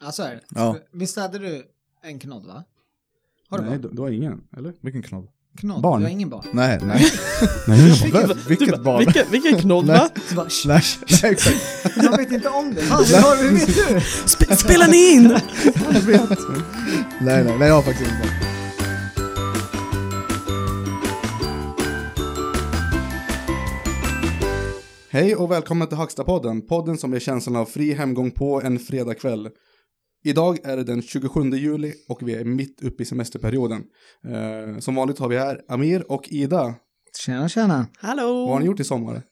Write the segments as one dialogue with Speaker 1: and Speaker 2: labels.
Speaker 1: Ja, så är det.
Speaker 2: Ja.
Speaker 1: Visst hade du en knodd, va? Har du
Speaker 3: Nej,
Speaker 1: barn?
Speaker 3: du, du har ingen, eller?
Speaker 2: Vilken knodd?
Speaker 1: Knodd?
Speaker 3: barn.
Speaker 1: Du har ingen barn?
Speaker 2: Nej, nej.
Speaker 3: Nej, jag
Speaker 2: Vilket, vilket
Speaker 4: Du bara,
Speaker 2: barn?
Speaker 4: Vilken, vilken knodd va?
Speaker 1: Så bara, "Shh,
Speaker 2: Nej, nej, exakt.
Speaker 1: jag vet inte om det. Fan, hur, har, hur vet du?
Speaker 4: Sp- spelar ni in?
Speaker 2: Jag vet. Nej, nej, nej, jag har faktiskt inte barn.
Speaker 3: Hej och välkommen till Hackstapodden, podden som ger känslan av fri hemgång på en fredagkväll. Idag är det den 27 juli och vi är mitt uppe i semesterperioden. Eh, som vanligt har vi här Amir och Ida.
Speaker 1: Tjena, tjena.
Speaker 4: Hallå!
Speaker 3: Vad har ni gjort i sommar?
Speaker 4: Eh,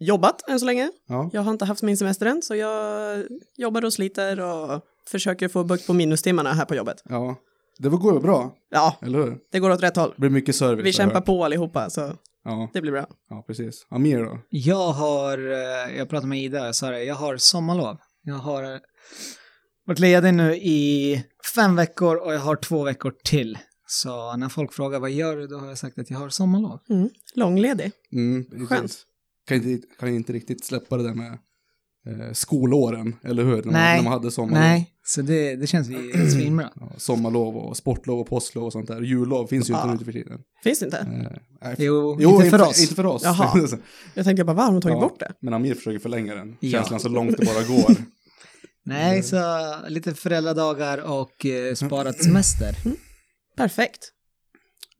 Speaker 4: jobbat än så länge.
Speaker 3: Ja,
Speaker 4: Jag har inte haft min semester än så jag jobbar och sliter och försöker få bukt på minustimmarna här på jobbet.
Speaker 3: ja. det går ju bra,
Speaker 4: Ja,
Speaker 3: eller hur?
Speaker 4: det går åt rätt håll.
Speaker 3: Det blir mycket service.
Speaker 4: Vi
Speaker 3: jag hör.
Speaker 4: kämpar på allihopa så
Speaker 3: Ja,
Speaker 4: det blir bra.
Speaker 3: ja, precis. Amir då?
Speaker 1: Jag har, eh, jag pratade med Ida, jag sa det, jag har sommarlov. Jag har eh, varit ledig nu i fem veckor och jag har två veckor till. Så när folk frågar vad gör du, då har jag sagt att jag har sommarlov.
Speaker 4: Långledig.
Speaker 3: Mm, precis.
Speaker 4: Skönt.
Speaker 3: Kan inte, kan inte riktigt släppa det där med eh, skolåren, eller hur? När man,
Speaker 1: Nej.
Speaker 3: När man hade sommarlov.
Speaker 1: Nej, så det, det känns vi svinbra.
Speaker 3: Ja, sommarlov och sportlov och påstlov och sånt där. Jullov finns ju inte
Speaker 4: Ja.
Speaker 3: nu för tiden.
Speaker 4: Finns inte?
Speaker 3: Eh, nej, f-
Speaker 1: Ah. Jo, inte för oss.
Speaker 3: Inte för oss.
Speaker 4: Jaha. Jag tänkte bara, va, har de tagit
Speaker 3: Ja,
Speaker 4: bort det?
Speaker 3: Men Amir försöker förlänga den.
Speaker 1: Ja.
Speaker 3: Känslan så långt det bara går.
Speaker 1: Nej, så lite föräldradagar och eh, sparat semester.
Speaker 4: Perfekt.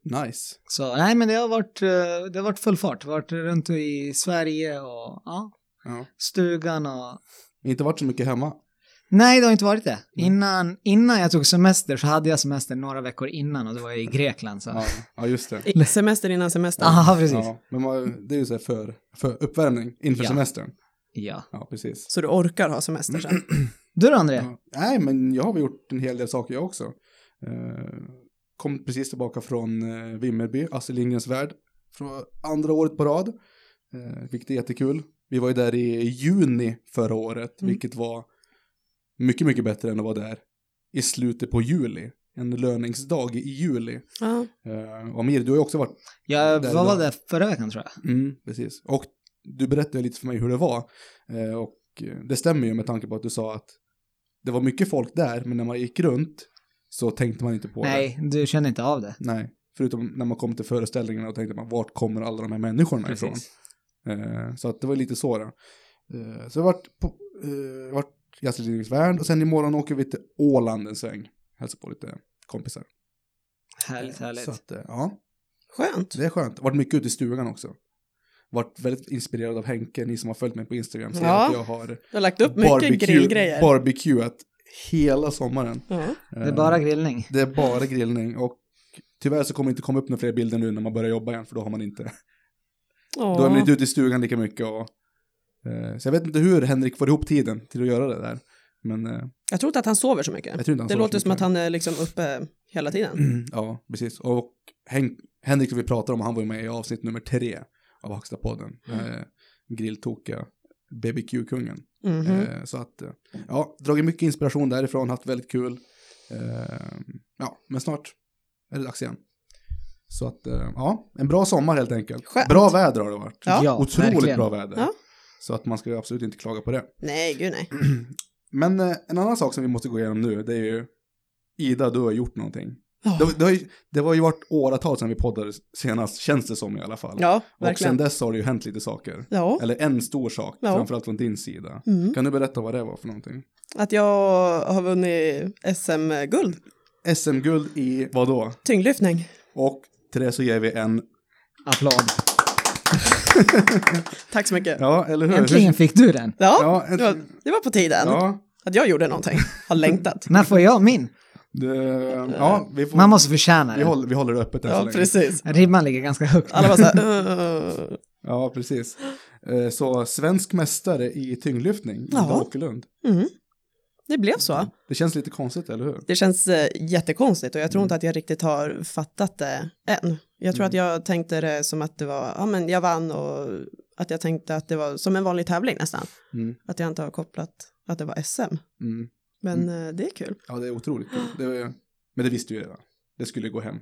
Speaker 3: nice.
Speaker 1: Så nej, men det har varit, eh, det har varit full fart. Det har varit runt i Sverige och ja,
Speaker 3: Ja.
Speaker 1: stugan och
Speaker 3: Inte varit så mycket hemma.
Speaker 1: Nej, det har inte varit det. Innan, innan jag tog semester så hade jag semester några veckor innan och då var jag i Grekland. Så.
Speaker 3: Ja, ja just det.
Speaker 4: I- Semester innan semester.
Speaker 1: Ja, precis. Ja.
Speaker 3: Ja, men man, det är ju så här för, för uppvärmning inför
Speaker 1: Ja.
Speaker 3: semestern. Ja, precis.
Speaker 4: Så du orkar ha semester sen.
Speaker 1: Du då, André?
Speaker 3: Ja. Nej, men jag har väl gjort en hel del saker jag också. Eh, kom precis tillbaka från eh, Vimmerby, Astrid Lindgrens värld, från andra året på rad. Eh, vilket är jättekul. Vi var ju där i juni förra året,
Speaker 4: Mm.
Speaker 3: vilket var mycket, mycket bättre än att vara där i slutet på juli. En löningsdag i juli.
Speaker 4: Ja.
Speaker 3: Eh, och Amir, du har ju också varit...
Speaker 1: Jag
Speaker 3: Där
Speaker 1: var,
Speaker 3: då.
Speaker 1: var där förra veckan tror jag.
Speaker 3: precis. Och du berättade lite för mig hur det var. Eh, och eh, det stämmer ju med tanke på att du sa att det var mycket folk där, men när man gick runt så tänkte man inte på det.
Speaker 1: Nej, du känner inte av det.
Speaker 3: Nej. Förutom när man kom till föreställningarna och tänkte man, vart kommer alla de här människorna ifrån?
Speaker 1: Precis.
Speaker 3: Eh, så att det var lite så då. Eh, så jag varit på, eh, varit i Astrid Lindgrens Värld och sen imorgon åker vi till Åland en sväng. Hälsar på lite kompisar.
Speaker 1: Härligt, härligt.
Speaker 3: Så att, eh, ja.
Speaker 4: Skönt.
Speaker 3: Så det är skönt. Varit mycket ute i stugan också. Varit väldigt inspirerad av Henke, ni som har följt mig på Instagram ser
Speaker 4: Ja.
Speaker 3: att jag har
Speaker 4: Du har lagt upp mycket
Speaker 3: barbecue,
Speaker 4: grillgrejer.
Speaker 3: barbecueat hela sommaren. Eh,
Speaker 4: ja.
Speaker 1: Det är bara grillning.
Speaker 3: Det är bara grillning och tyvärr så kommer det inte komma upp några fler bilder nu när man börjar jobba igen för då har man inte, då är man inte ute i stugan lika mycket och eh, så jag vet inte hur Henrik får ihop tiden till att göra det där. Men eh,
Speaker 4: Jag tror inte att han sover så mycket.
Speaker 3: jag tror inte han
Speaker 4: Det
Speaker 3: sover så
Speaker 4: låter som
Speaker 3: mycket.
Speaker 4: att han är liksom uppe hela tiden.
Speaker 3: Ja, precis. Och Hen- Henrik som vi pratar om, han var ju med i avsnitt nummer tre av Hackstapodden.
Speaker 4: Mm.
Speaker 3: Eh, grilltokiga BBQ-kungen.
Speaker 4: Mhm.
Speaker 3: Eh, så att, eh, ja, dragit mycket inspiration därifrån, haft väldigt kul. Eh, ja, men snart är det dags igen. Så att, eh, ja, en bra sommar helt enkelt.
Speaker 4: Skönt.
Speaker 3: Bra väder har det varit.
Speaker 4: Ja,
Speaker 3: Otroligt
Speaker 1: verkligen.
Speaker 3: bra väder.
Speaker 4: Ja.
Speaker 3: Så att man ska absolut inte klaga på det.
Speaker 4: Nej, gud nej.
Speaker 3: Men eh, en annan sak som vi måste gå igenom nu, det är ju Ida, du har gjort någonting.
Speaker 4: Ja.
Speaker 3: Det, det, har ju, det var ju varit åratal sedan vi poddade senast, känns det som i alla fall.
Speaker 4: Ja,
Speaker 3: och sen
Speaker 4: verkligen.
Speaker 3: dess har det ju hänt lite saker.
Speaker 4: Ja.
Speaker 3: Eller en stor sak,
Speaker 4: Ja.
Speaker 3: framförallt från din sida.
Speaker 4: Mm.
Speaker 3: Kan du berätta vad det var för någonting?
Speaker 4: Att jag har vunnit SM-guld.
Speaker 3: SM-guld i vad då?
Speaker 4: Tyngdlyftning.
Speaker 3: Och till det så ger vi en...
Speaker 1: Applåd.
Speaker 4: Tack så mycket. Ja,
Speaker 3: Ja, eller hur?
Speaker 1: Äntligen fick du den.
Speaker 3: Ja,
Speaker 4: det, var, det var på tiden
Speaker 3: Ja,
Speaker 4: att jag gjorde någonting. Har längtat.
Speaker 1: När får jag min?
Speaker 3: det, ja vi, får,
Speaker 1: Man måste förtjäna
Speaker 3: vi,
Speaker 1: den.
Speaker 3: håller, vi håller det öppet än så
Speaker 4: Ja,
Speaker 3: länge.
Speaker 4: precis.
Speaker 1: Ribban ligger ganska högt.
Speaker 4: Alla var så här, "Uh."
Speaker 3: Ja, precis. Eh, Så svensk mästare i tyngdlyftning,
Speaker 4: Ja.
Speaker 3: Ida Åkerlund.
Speaker 4: mm. Det blev så.
Speaker 3: Det känns lite konstigt, eller hur?
Speaker 4: Det känns eh, jättekonstigt och jag tror
Speaker 3: Mm.
Speaker 4: inte att jag riktigt har fattat det än. Jag tror att jag tänkte det som att det var, ja men jag vann och att jag tänkte att det var som en vanlig tävling nästan.
Speaker 3: Mm.
Speaker 4: Att jag inte har kopplat att det var SM.
Speaker 3: Mm.
Speaker 4: Men eh, det är kul.
Speaker 3: Ja, det är otroligt kul. Det är, men det visste vi redan. Det skulle gå hem.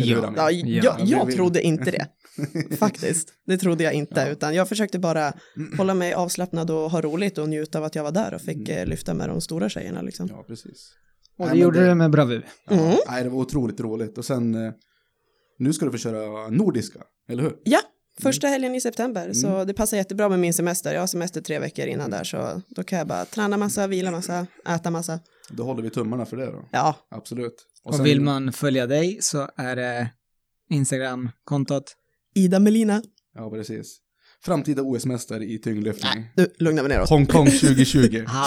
Speaker 3: Eller hur,
Speaker 1: Ja.
Speaker 3: Ami?
Speaker 4: Ja,
Speaker 1: Ja,
Speaker 4: jag,
Speaker 3: men
Speaker 4: jag
Speaker 3: vi-
Speaker 4: trodde inte det, faktiskt. Det trodde jag inte,
Speaker 3: Ja.
Speaker 4: utan jag försökte bara hålla mig avslappnad och ha roligt och njuta av att jag var där och fick
Speaker 3: Mm.
Speaker 4: eh, lyfta med de stora tjejerna liksom.
Speaker 3: Ja, precis.
Speaker 1: Och
Speaker 3: Nej,
Speaker 1: du
Speaker 3: men
Speaker 1: gjorde det med bravur.
Speaker 3: Ja,
Speaker 4: Mm.
Speaker 3: Nej, det var otroligt roligt. Och sen, eh, nu ska du få köra nordiska, eller hur?
Speaker 4: Första helgen i september, så
Speaker 3: Mm.
Speaker 4: det passar jättebra med min semester. Jag har semester tre veckor innan där, så då kan jag bara träna massa, vila massa, äta massa.
Speaker 3: Då håller vi tummarna för det då.
Speaker 4: Ja,
Speaker 3: Absolut.
Speaker 1: Och,
Speaker 3: sen-
Speaker 1: vill man följa dig så är det Instagram-kontot.
Speaker 4: Ida Melina.
Speaker 3: Ja, precis. Framtida OS-mästare i tyngdlyftning.
Speaker 4: Nu lugnar vi ner oss.
Speaker 3: Hongkong 2020.
Speaker 1: Ha.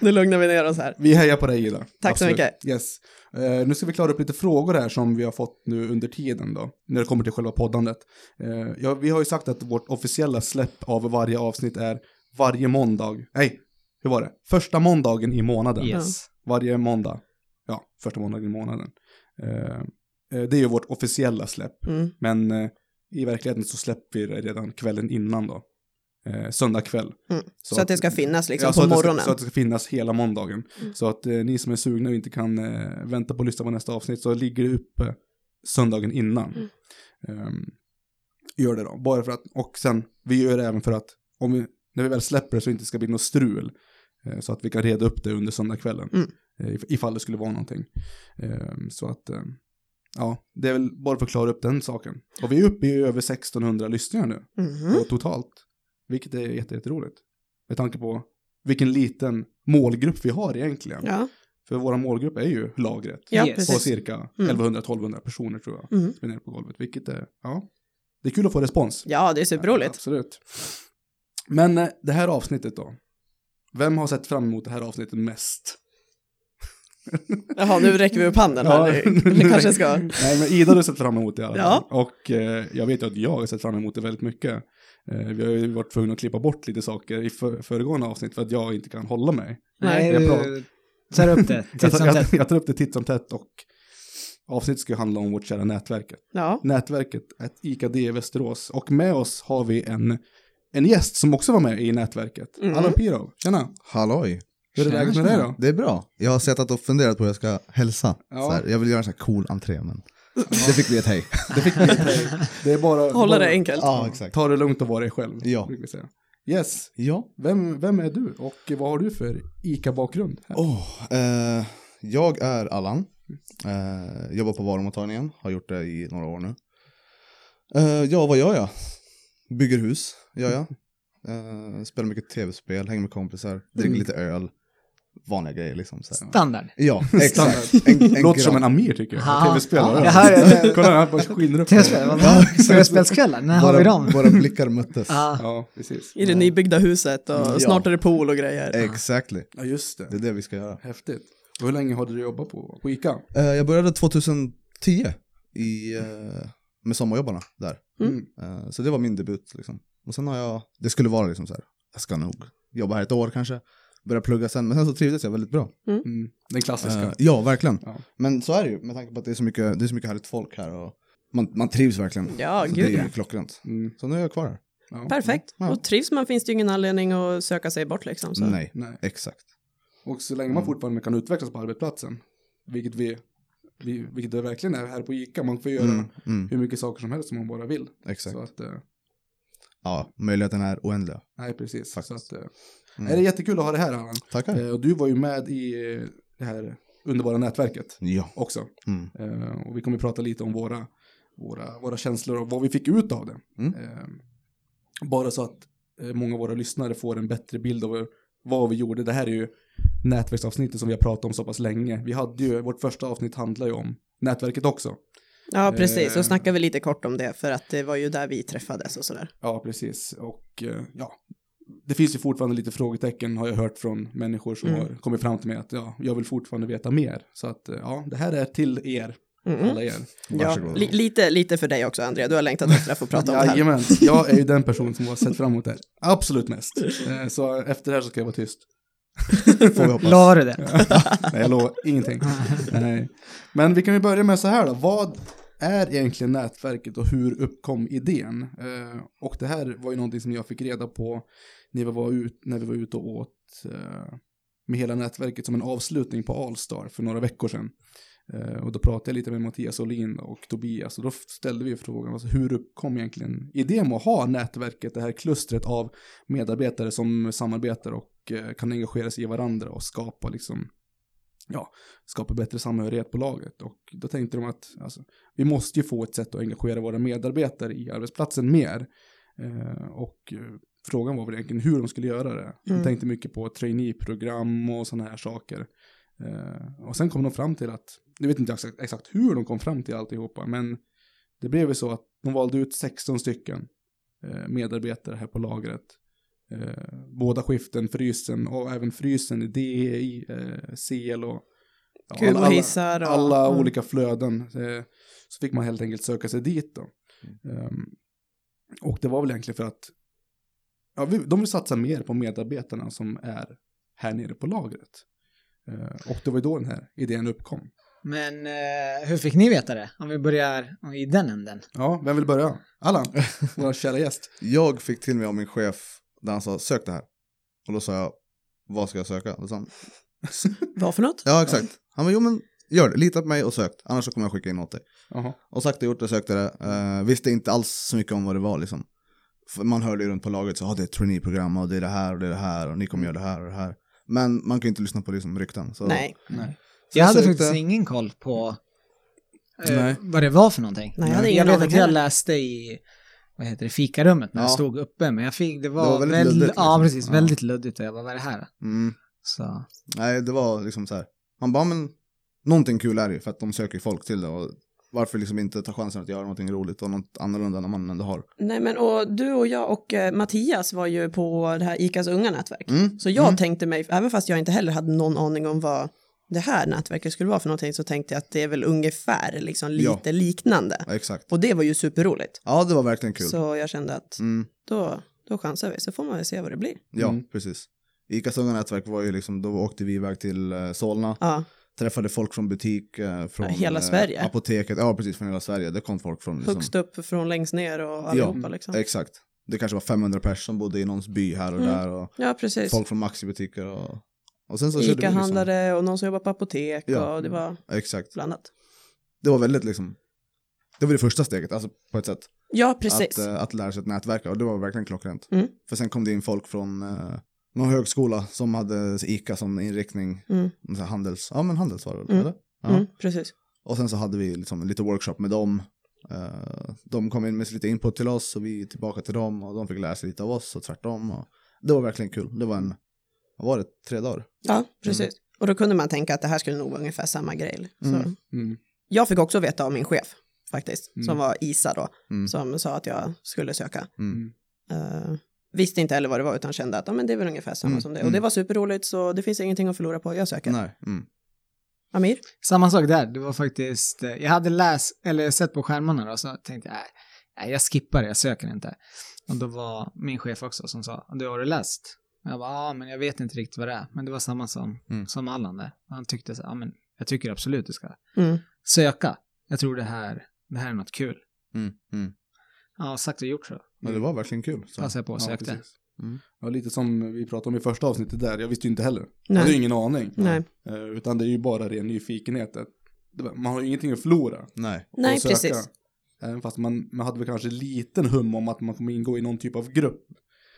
Speaker 4: Nu lugnar vi ner oss här.
Speaker 3: Vi hejar på dig Ida.
Speaker 4: Tack så mycket.
Speaker 3: Yes. Eh, nu ska vi klara upp lite frågor här som vi har fått nu under tiden då, när det kommer till själva poddandet. Eh, ja, vi har ju sagt att vårt officiella släpp av varje avsnitt är varje måndag. Nej, hur var det? Första måndagen i månaden.
Speaker 1: yes.
Speaker 3: Varje måndag. Ja, första måndagen i månaden. Eh, eh, det är ju vårt officiella släpp.
Speaker 4: Mm.
Speaker 3: Men eh, i verkligheten så släpper vi det redan kvällen innan då. Eh, söndag kväll.
Speaker 4: Mm. Så, att det ska finnas liksom
Speaker 3: Ja, så
Speaker 4: på
Speaker 3: att det ska-
Speaker 4: morgonen. Mm.
Speaker 3: Så att det ska finnas hela måndagen. Så att eh, ni som är sugna och inte kan eh, vänta på att lyssna på nästa avsnitt så ligger det uppe söndagen innan.
Speaker 4: Mm.
Speaker 3: Ehm, gör det då, bara för att, och sen, vi gör det även för att om vi, när vi väl släpper det så inte ska bli något strul. Eh, så att vi kan reda upp det under söndagskvällen.
Speaker 4: Mm.
Speaker 3: Eh, if- ifall det skulle vara någonting. Ehm, så att, eh, ja, det är väl bara för att klara upp den saken. Och vi är uppe i över 1600 lyssningar nu
Speaker 4: Mhm.
Speaker 3: och totalt. Vilket är jätte- jätteroligt. Med tanke på vilken liten målgrupp vi har egentligen.
Speaker 4: Ja,
Speaker 3: För vår målgrupp är ju lagret.
Speaker 4: ja
Speaker 1: Yes.
Speaker 3: På
Speaker 4: precis.
Speaker 3: cirka 1100-1200 personer tror jag.
Speaker 4: Mm.
Speaker 3: som är nere på golvet. Vilket är, ja. Det är kul att få respons.
Speaker 4: Ja, det är superroligt.
Speaker 3: absolut. Men eh, det här avsnittet då. Vem har sett fram emot det här avsnittet mest?
Speaker 4: Jaha, nu räcker vi upp handen här.
Speaker 3: nu-
Speaker 4: Vi kanske ska...
Speaker 3: Nej, men Ida har du sett fram emot det i alla
Speaker 4: Ja.
Speaker 3: fall. Och eh, jag vet ju att jag har sett fram emot det väldigt mycket. Eh, vi har ju varit tvungna att klippa bort lite saker i för, föregående avsnitt för att jag inte kan hålla mig.
Speaker 1: Nej,
Speaker 3: Jag
Speaker 1: du
Speaker 3: pratar-
Speaker 1: tar upp det.
Speaker 3: Jag
Speaker 1: Titt
Speaker 3: tar,
Speaker 1: som
Speaker 3: jag,
Speaker 1: tätt.
Speaker 3: jag tar upp det titt som tätt och avsnittet ska ju handla om vårt kära nätverket.
Speaker 4: Ja,
Speaker 3: Nätverket är ett IKD i Västerås och med oss har vi en, en gäst som också var med i nätverket.
Speaker 4: Mm.
Speaker 3: Allan Pirov, tjena!
Speaker 2: Halloj!
Speaker 3: Hur är
Speaker 1: Tjena,
Speaker 3: läget med dig
Speaker 1: tjena.
Speaker 3: då?
Speaker 2: Det är bra. Jag har sett att och funderat på hur jag ska hälsa.
Speaker 3: Ja.
Speaker 2: Så här, jag vill göra en sån här cool entré, men det fick bli ett hej.
Speaker 3: Det fick vi inte. Det är bara...
Speaker 4: hålla
Speaker 3: bara,
Speaker 4: det enkelt.
Speaker 2: ja, exakt.
Speaker 3: Ta det lugnt och vara dig själv.
Speaker 2: Ja.
Speaker 3: brukar vi säga. Yes,
Speaker 2: Ja.
Speaker 3: Vem, vem är du och vad har du för ICA-bakgrund? här?
Speaker 2: Åh, eh, jag är Allan. Eh, jobbar på varumottagningen, har gjort det i några år nu. Eh, ja, vad gör jag? Bygger hus, gör jag. Eh, spelar mycket tv-spel, hänger med kompisar,
Speaker 3: Mm.
Speaker 2: dricker lite öl. Vanliga grejer liksom. Så här.
Speaker 1: Standard.
Speaker 2: Ja, exakt. En, en
Speaker 3: Låter som en
Speaker 2: grabb.
Speaker 3: Amir tycker jag.
Speaker 1: Aha.
Speaker 3: Tv-spelare.
Speaker 1: Ja, här är det.
Speaker 3: Kolla han bara skiner upp.
Speaker 1: Tv-spel, vad
Speaker 2: Ja,
Speaker 1: bra.
Speaker 2: exakt.
Speaker 1: Tv-spelskvällar, när har
Speaker 2: våra,
Speaker 1: vi dem?
Speaker 2: Våra blickar möttes.
Speaker 1: Ja.
Speaker 3: Ja, Mm, precis.
Speaker 4: I det nybyggda huset och
Speaker 2: Ja.
Speaker 4: snart är det pool och grejer.
Speaker 2: Exactly.
Speaker 3: Ja, just
Speaker 2: Det är
Speaker 3: det.
Speaker 2: det vi ska göra.
Speaker 3: Häftigt. Och hur länge har du jobbat på, på ICA?
Speaker 2: Eh, jag började 2010 i, eh, med sommarjobbarna där.
Speaker 3: Mm.
Speaker 2: Eh, så det var min debut. Liksom. Och sen har jag, det skulle vara liksom så här, jag ska nog jobba här ett år kanske, börja plugga sen. Men sen så trivdes jag väldigt bra.
Speaker 3: Mm. Den klassiska.
Speaker 2: Eh, ja, verkligen.
Speaker 3: Ja.
Speaker 2: Men så är det ju med tanke på att det är så mycket, det är så mycket härligt folk här och man, man trivs verkligen.
Speaker 4: Ja,
Speaker 2: så
Speaker 4: gud
Speaker 2: det är
Speaker 4: ja.
Speaker 2: ju klockrent.
Speaker 3: Mm.
Speaker 2: Så nu är jag kvar här.
Speaker 3: Ja.
Speaker 4: Perfekt.
Speaker 2: Ja.
Speaker 4: Och trivs man finns det ju ingen anledning att söka sig bort liksom. Så.
Speaker 2: Nej,
Speaker 3: Nej.
Speaker 2: exakt.
Speaker 3: Och så länge man fortfarande kan utvecklas på arbetsplatsen, vilket vi, vi vilket det verkligen är här på ICA, man får göra
Speaker 2: Mm, mm,
Speaker 3: hur mycket saker som helst som man bara vill.
Speaker 2: exakt.
Speaker 3: Så att, eh,
Speaker 2: Ja, möjligheten är oändliga.
Speaker 3: nej precis. Så att, eh,
Speaker 2: Mm.
Speaker 3: nej, det är jättekul att ha det här Allan.
Speaker 2: Tackar.
Speaker 3: Eh, och du var ju med i eh, det här underbara nätverket
Speaker 2: Ja.
Speaker 3: också.
Speaker 2: Mm.
Speaker 3: Eh, och vi kommer prata lite om våra, våra, våra känslor och vad vi fick ut av det.
Speaker 2: Mm.
Speaker 3: Eh, bara så att eh, många av våra lyssnare får en bättre bild av vad vi gjorde. Det här är ju nätverksavsnittet som vi har pratat om så pass länge. Vi hade ju, vårt första avsnitt handlar ju om nätverket också.
Speaker 4: Ja, precis.
Speaker 3: Eh.
Speaker 4: Och snackar vi lite kort om det för att det var ju där vi träffades och sådär.
Speaker 3: Ja, precis. Och eh, ja, det finns ju fortfarande lite frågetecken har jag hört från människor som
Speaker 4: Mm.
Speaker 3: har kommit fram till mig att ja, jag vill fortfarande veta mer. Så att eh, ja, det här är till er,
Speaker 4: Mm.
Speaker 3: alla er.
Speaker 4: Ja,
Speaker 2: Varsågod.
Speaker 4: li- lite, lite för dig också Andrea. Du har längtat efter att få prata om det här.
Speaker 3: Jajamän, jag är ju den person som har sett fram emot det här absolut mest. Eh, Så efter det här så ska jag vara tyst.
Speaker 2: Får vi hoppas.
Speaker 1: La du det?
Speaker 3: Nej, jag lovar ingenting. Nej. Men vi kan ju börja med så här då. Vad är egentligen nätverket och hur uppkom idén? Eh, Och det här var ju någonting som jag fick reda på när vi var, ut, när vi var ute och åt eh, med hela nätverket som en avslutning på Allstar för några veckor sedan. Eh, Och då pratade jag lite med Mattias Olin och Tobias och då ställde vi frågan, alltså, hur uppkom egentligen idén med att ha nätverket, det här klustret av medarbetare som samarbetar och eh, kan engagera sig i varandra och skapa liksom, ja, skapa bättre samhörighet på laget. Och då tänkte de att alltså, vi måste ju få ett sätt att engagera våra medarbetare i arbetsplatsen mer. Eh, och eh, frågan var väl egentligen hur de skulle göra det. De
Speaker 4: Mm.
Speaker 3: tänkte mycket på traineeprogram och sådana här saker. Eh, och sen kom de fram till att, jag vet inte exakt, exakt hur de kom fram till alltihopa, men det blev ju så att de valde ut 16 stycken eh, medarbetare här på lagret. Eh, båda skiften, frysen och även frysen i DEI, eh, CL och ja,
Speaker 4: Kul
Speaker 3: alla-
Speaker 4: och hissar och...
Speaker 3: alla
Speaker 4: mm.
Speaker 3: olika flöden. eh, Så fick man helt enkelt söka sig dit då.
Speaker 4: Mm.
Speaker 3: Ehm, Och det var väl egentligen för att ja, vi- de vill satsa mer på medarbetarna som är här nere på lagret. Eh, Och det var ju då den här idén uppkom.
Speaker 1: Men eh, hur fick ni veta det? Om vi börjar i den änden.
Speaker 3: Ja, vem vill börja? Allan, vår kära gäst.
Speaker 2: Jag fick till mig av min chef när han sa sök det här. Och då sa jag vad ska jag söka? Då sa han,
Speaker 4: Vad för något?
Speaker 2: ja exakt. Han bara jo men gör det, lita på mig och sök. Annars så kommer jag skicka in åt dig.
Speaker 3: Jaha.
Speaker 2: Och sagt och gjort, jag sökte det. Eh, visste inte alls så mycket om vad det var liksom. För man hörde ju runt på laget så, ah, det är ett traineeprogram och det är det här och det är det här och ni kommer göra det här och det här. Men man kan ju inte lyssna på liksom rykten. Så.
Speaker 4: Nej,
Speaker 3: Nej.
Speaker 2: Så
Speaker 1: Jag hade
Speaker 2: sökte-
Speaker 1: faktiskt ingen koll på eh,
Speaker 3: Nej.
Speaker 1: vad det var för någonting.
Speaker 4: Nej, jag hade ingen
Speaker 1: vet
Speaker 4: aning
Speaker 1: att jag
Speaker 4: heller.
Speaker 1: läste i vad heter det, fikarummet när jag
Speaker 2: Ja.
Speaker 1: stod uppe, men jag fick, det var,
Speaker 2: Det var
Speaker 1: väldigt
Speaker 2: väldigt luddigt,
Speaker 1: luddigt. Ja,
Speaker 2: liksom.
Speaker 1: precis,
Speaker 2: Ja.
Speaker 1: väldigt luddigt och jag bara, vad är det här?
Speaker 2: Mm.
Speaker 1: Så,
Speaker 2: Nej, det var liksom så här. Man bara, men någonting kul är det ju, för att de söker ju folk till det. Och varför liksom inte ta chansen att göra någonting roligt och något annorlunda när man ändå har.
Speaker 4: nej men och du och jag och eh, Mattias var ju på det här ICAs unga nätverk.
Speaker 2: Mm.
Speaker 4: Så jag
Speaker 2: Mm.
Speaker 4: tänkte mig, även fast jag inte heller hade någon aning om vad det här nätverket skulle vara för någonting, så tänkte jag att det är väl ungefär liksom
Speaker 2: Ja.
Speaker 4: lite liknande.
Speaker 2: Ja, exakt.
Speaker 4: Och det var ju superroligt.
Speaker 2: Ja, det var verkligen kul.
Speaker 4: Så jag kände att
Speaker 2: Mm.
Speaker 4: då, då chansar vi, så får man väl se vad det blir.
Speaker 2: Ja,
Speaker 3: Mm.
Speaker 2: precis. Icas unga nätverk var ju liksom, då åkte vi iväg till eh, Solna,
Speaker 4: Ja,
Speaker 2: träffade folk från butik, eh, från
Speaker 4: Ja, hela
Speaker 2: eh,
Speaker 4: Sverige.
Speaker 2: apoteket, ja precis från hela Sverige. Det kom folk från liksom,
Speaker 4: högst upp från längst ner och allihopa liksom.
Speaker 2: exakt. Det kanske var 500 personer som bodde i någons by här och
Speaker 4: Mm.
Speaker 2: där och
Speaker 4: Ja, precis.
Speaker 2: folk från Maxi-butiker och, och sen så körde vi liksom-
Speaker 4: Ica-handlare och någon som jobbar på apotek
Speaker 2: Ja. Mm.
Speaker 4: och det var
Speaker 2: Exakt.
Speaker 4: blandat.
Speaker 2: det var väldigt liksom, det var det första steget, alltså på ett sätt.
Speaker 4: Ja,
Speaker 2: Att,
Speaker 4: precis.
Speaker 2: eh, att lära sig att nätverka och det var verkligen klockrent.
Speaker 4: Mm.
Speaker 2: För sen kom det in folk från eh, någon högskola som hade ICA som inriktning,
Speaker 4: Mm,
Speaker 2: så här handels, ja men handels var det väl,
Speaker 4: Mm.
Speaker 2: eller? eh, Ja.
Speaker 4: mm, precis.
Speaker 2: Och sen så hade vi liksom lite workshop med dem. Eh, de kom in med lite input till oss och vi tillbaka till dem och de fick lära sig lite av oss och tvärtom. Och det var verkligen kul. Det var en, vad var det, tre dagar?
Speaker 4: Ja, precis. Och då kunde man tänka att det här skulle nog vara ungefär samma grej. Så.
Speaker 2: Mm.
Speaker 3: Mm.
Speaker 4: Jag fick också veta av min chef faktiskt,
Speaker 3: Mm.
Speaker 4: som var Isa då,
Speaker 2: Mm.
Speaker 4: som sa att jag skulle söka.
Speaker 2: Mm.
Speaker 4: Eh, visste inte heller vad det var utan kände att ja, men det är väl ungefär samma
Speaker 2: Mm,
Speaker 4: som det. Och
Speaker 2: mm.
Speaker 4: det var superroligt så det finns ingenting att förlora på, jag söker.
Speaker 2: Nej. Mm.
Speaker 4: Amir?
Speaker 1: samma sak där, det var faktiskt, eh, jag hade läst, eller sett på skärmarna då, så tänkte jag, "Nej, nej, jag skippar det, jag söker inte. Och då var min chef också som sa, du har du läst? Och Jag bara, ja, men jag vet inte riktigt vad det är. Men det var samma som,
Speaker 2: Mm.
Speaker 1: som Allan där. Han tyckte så, här, ja, men jag tycker absolut du ska
Speaker 4: Mm.
Speaker 1: söka. Jag tror det här, det här är något kul.
Speaker 2: Mm. Mm.
Speaker 1: Ja, sagt och gjort så.
Speaker 2: Men det
Speaker 3: Mm.
Speaker 2: var verkligen kul.
Speaker 3: Alltså-
Speaker 2: Så.
Speaker 1: Passade jag på och sökte.
Speaker 3: precis.
Speaker 2: Mm.
Speaker 3: Ja, lite som vi pratade om i första avsnittet där, jag visste ju inte heller. Jag hade ju
Speaker 4: Nej.
Speaker 3: ingen aning.
Speaker 4: Nej.
Speaker 3: Eh, Utan det är ju bara ren nyfikenhet. att- Man har ju ingenting att förlora.
Speaker 2: Nej.
Speaker 3: och
Speaker 4: Nej,
Speaker 3: söka.
Speaker 4: precis.
Speaker 3: Även fast man, man hade väl kanske liten hum om att man kommer ingå i någon typ av grupp.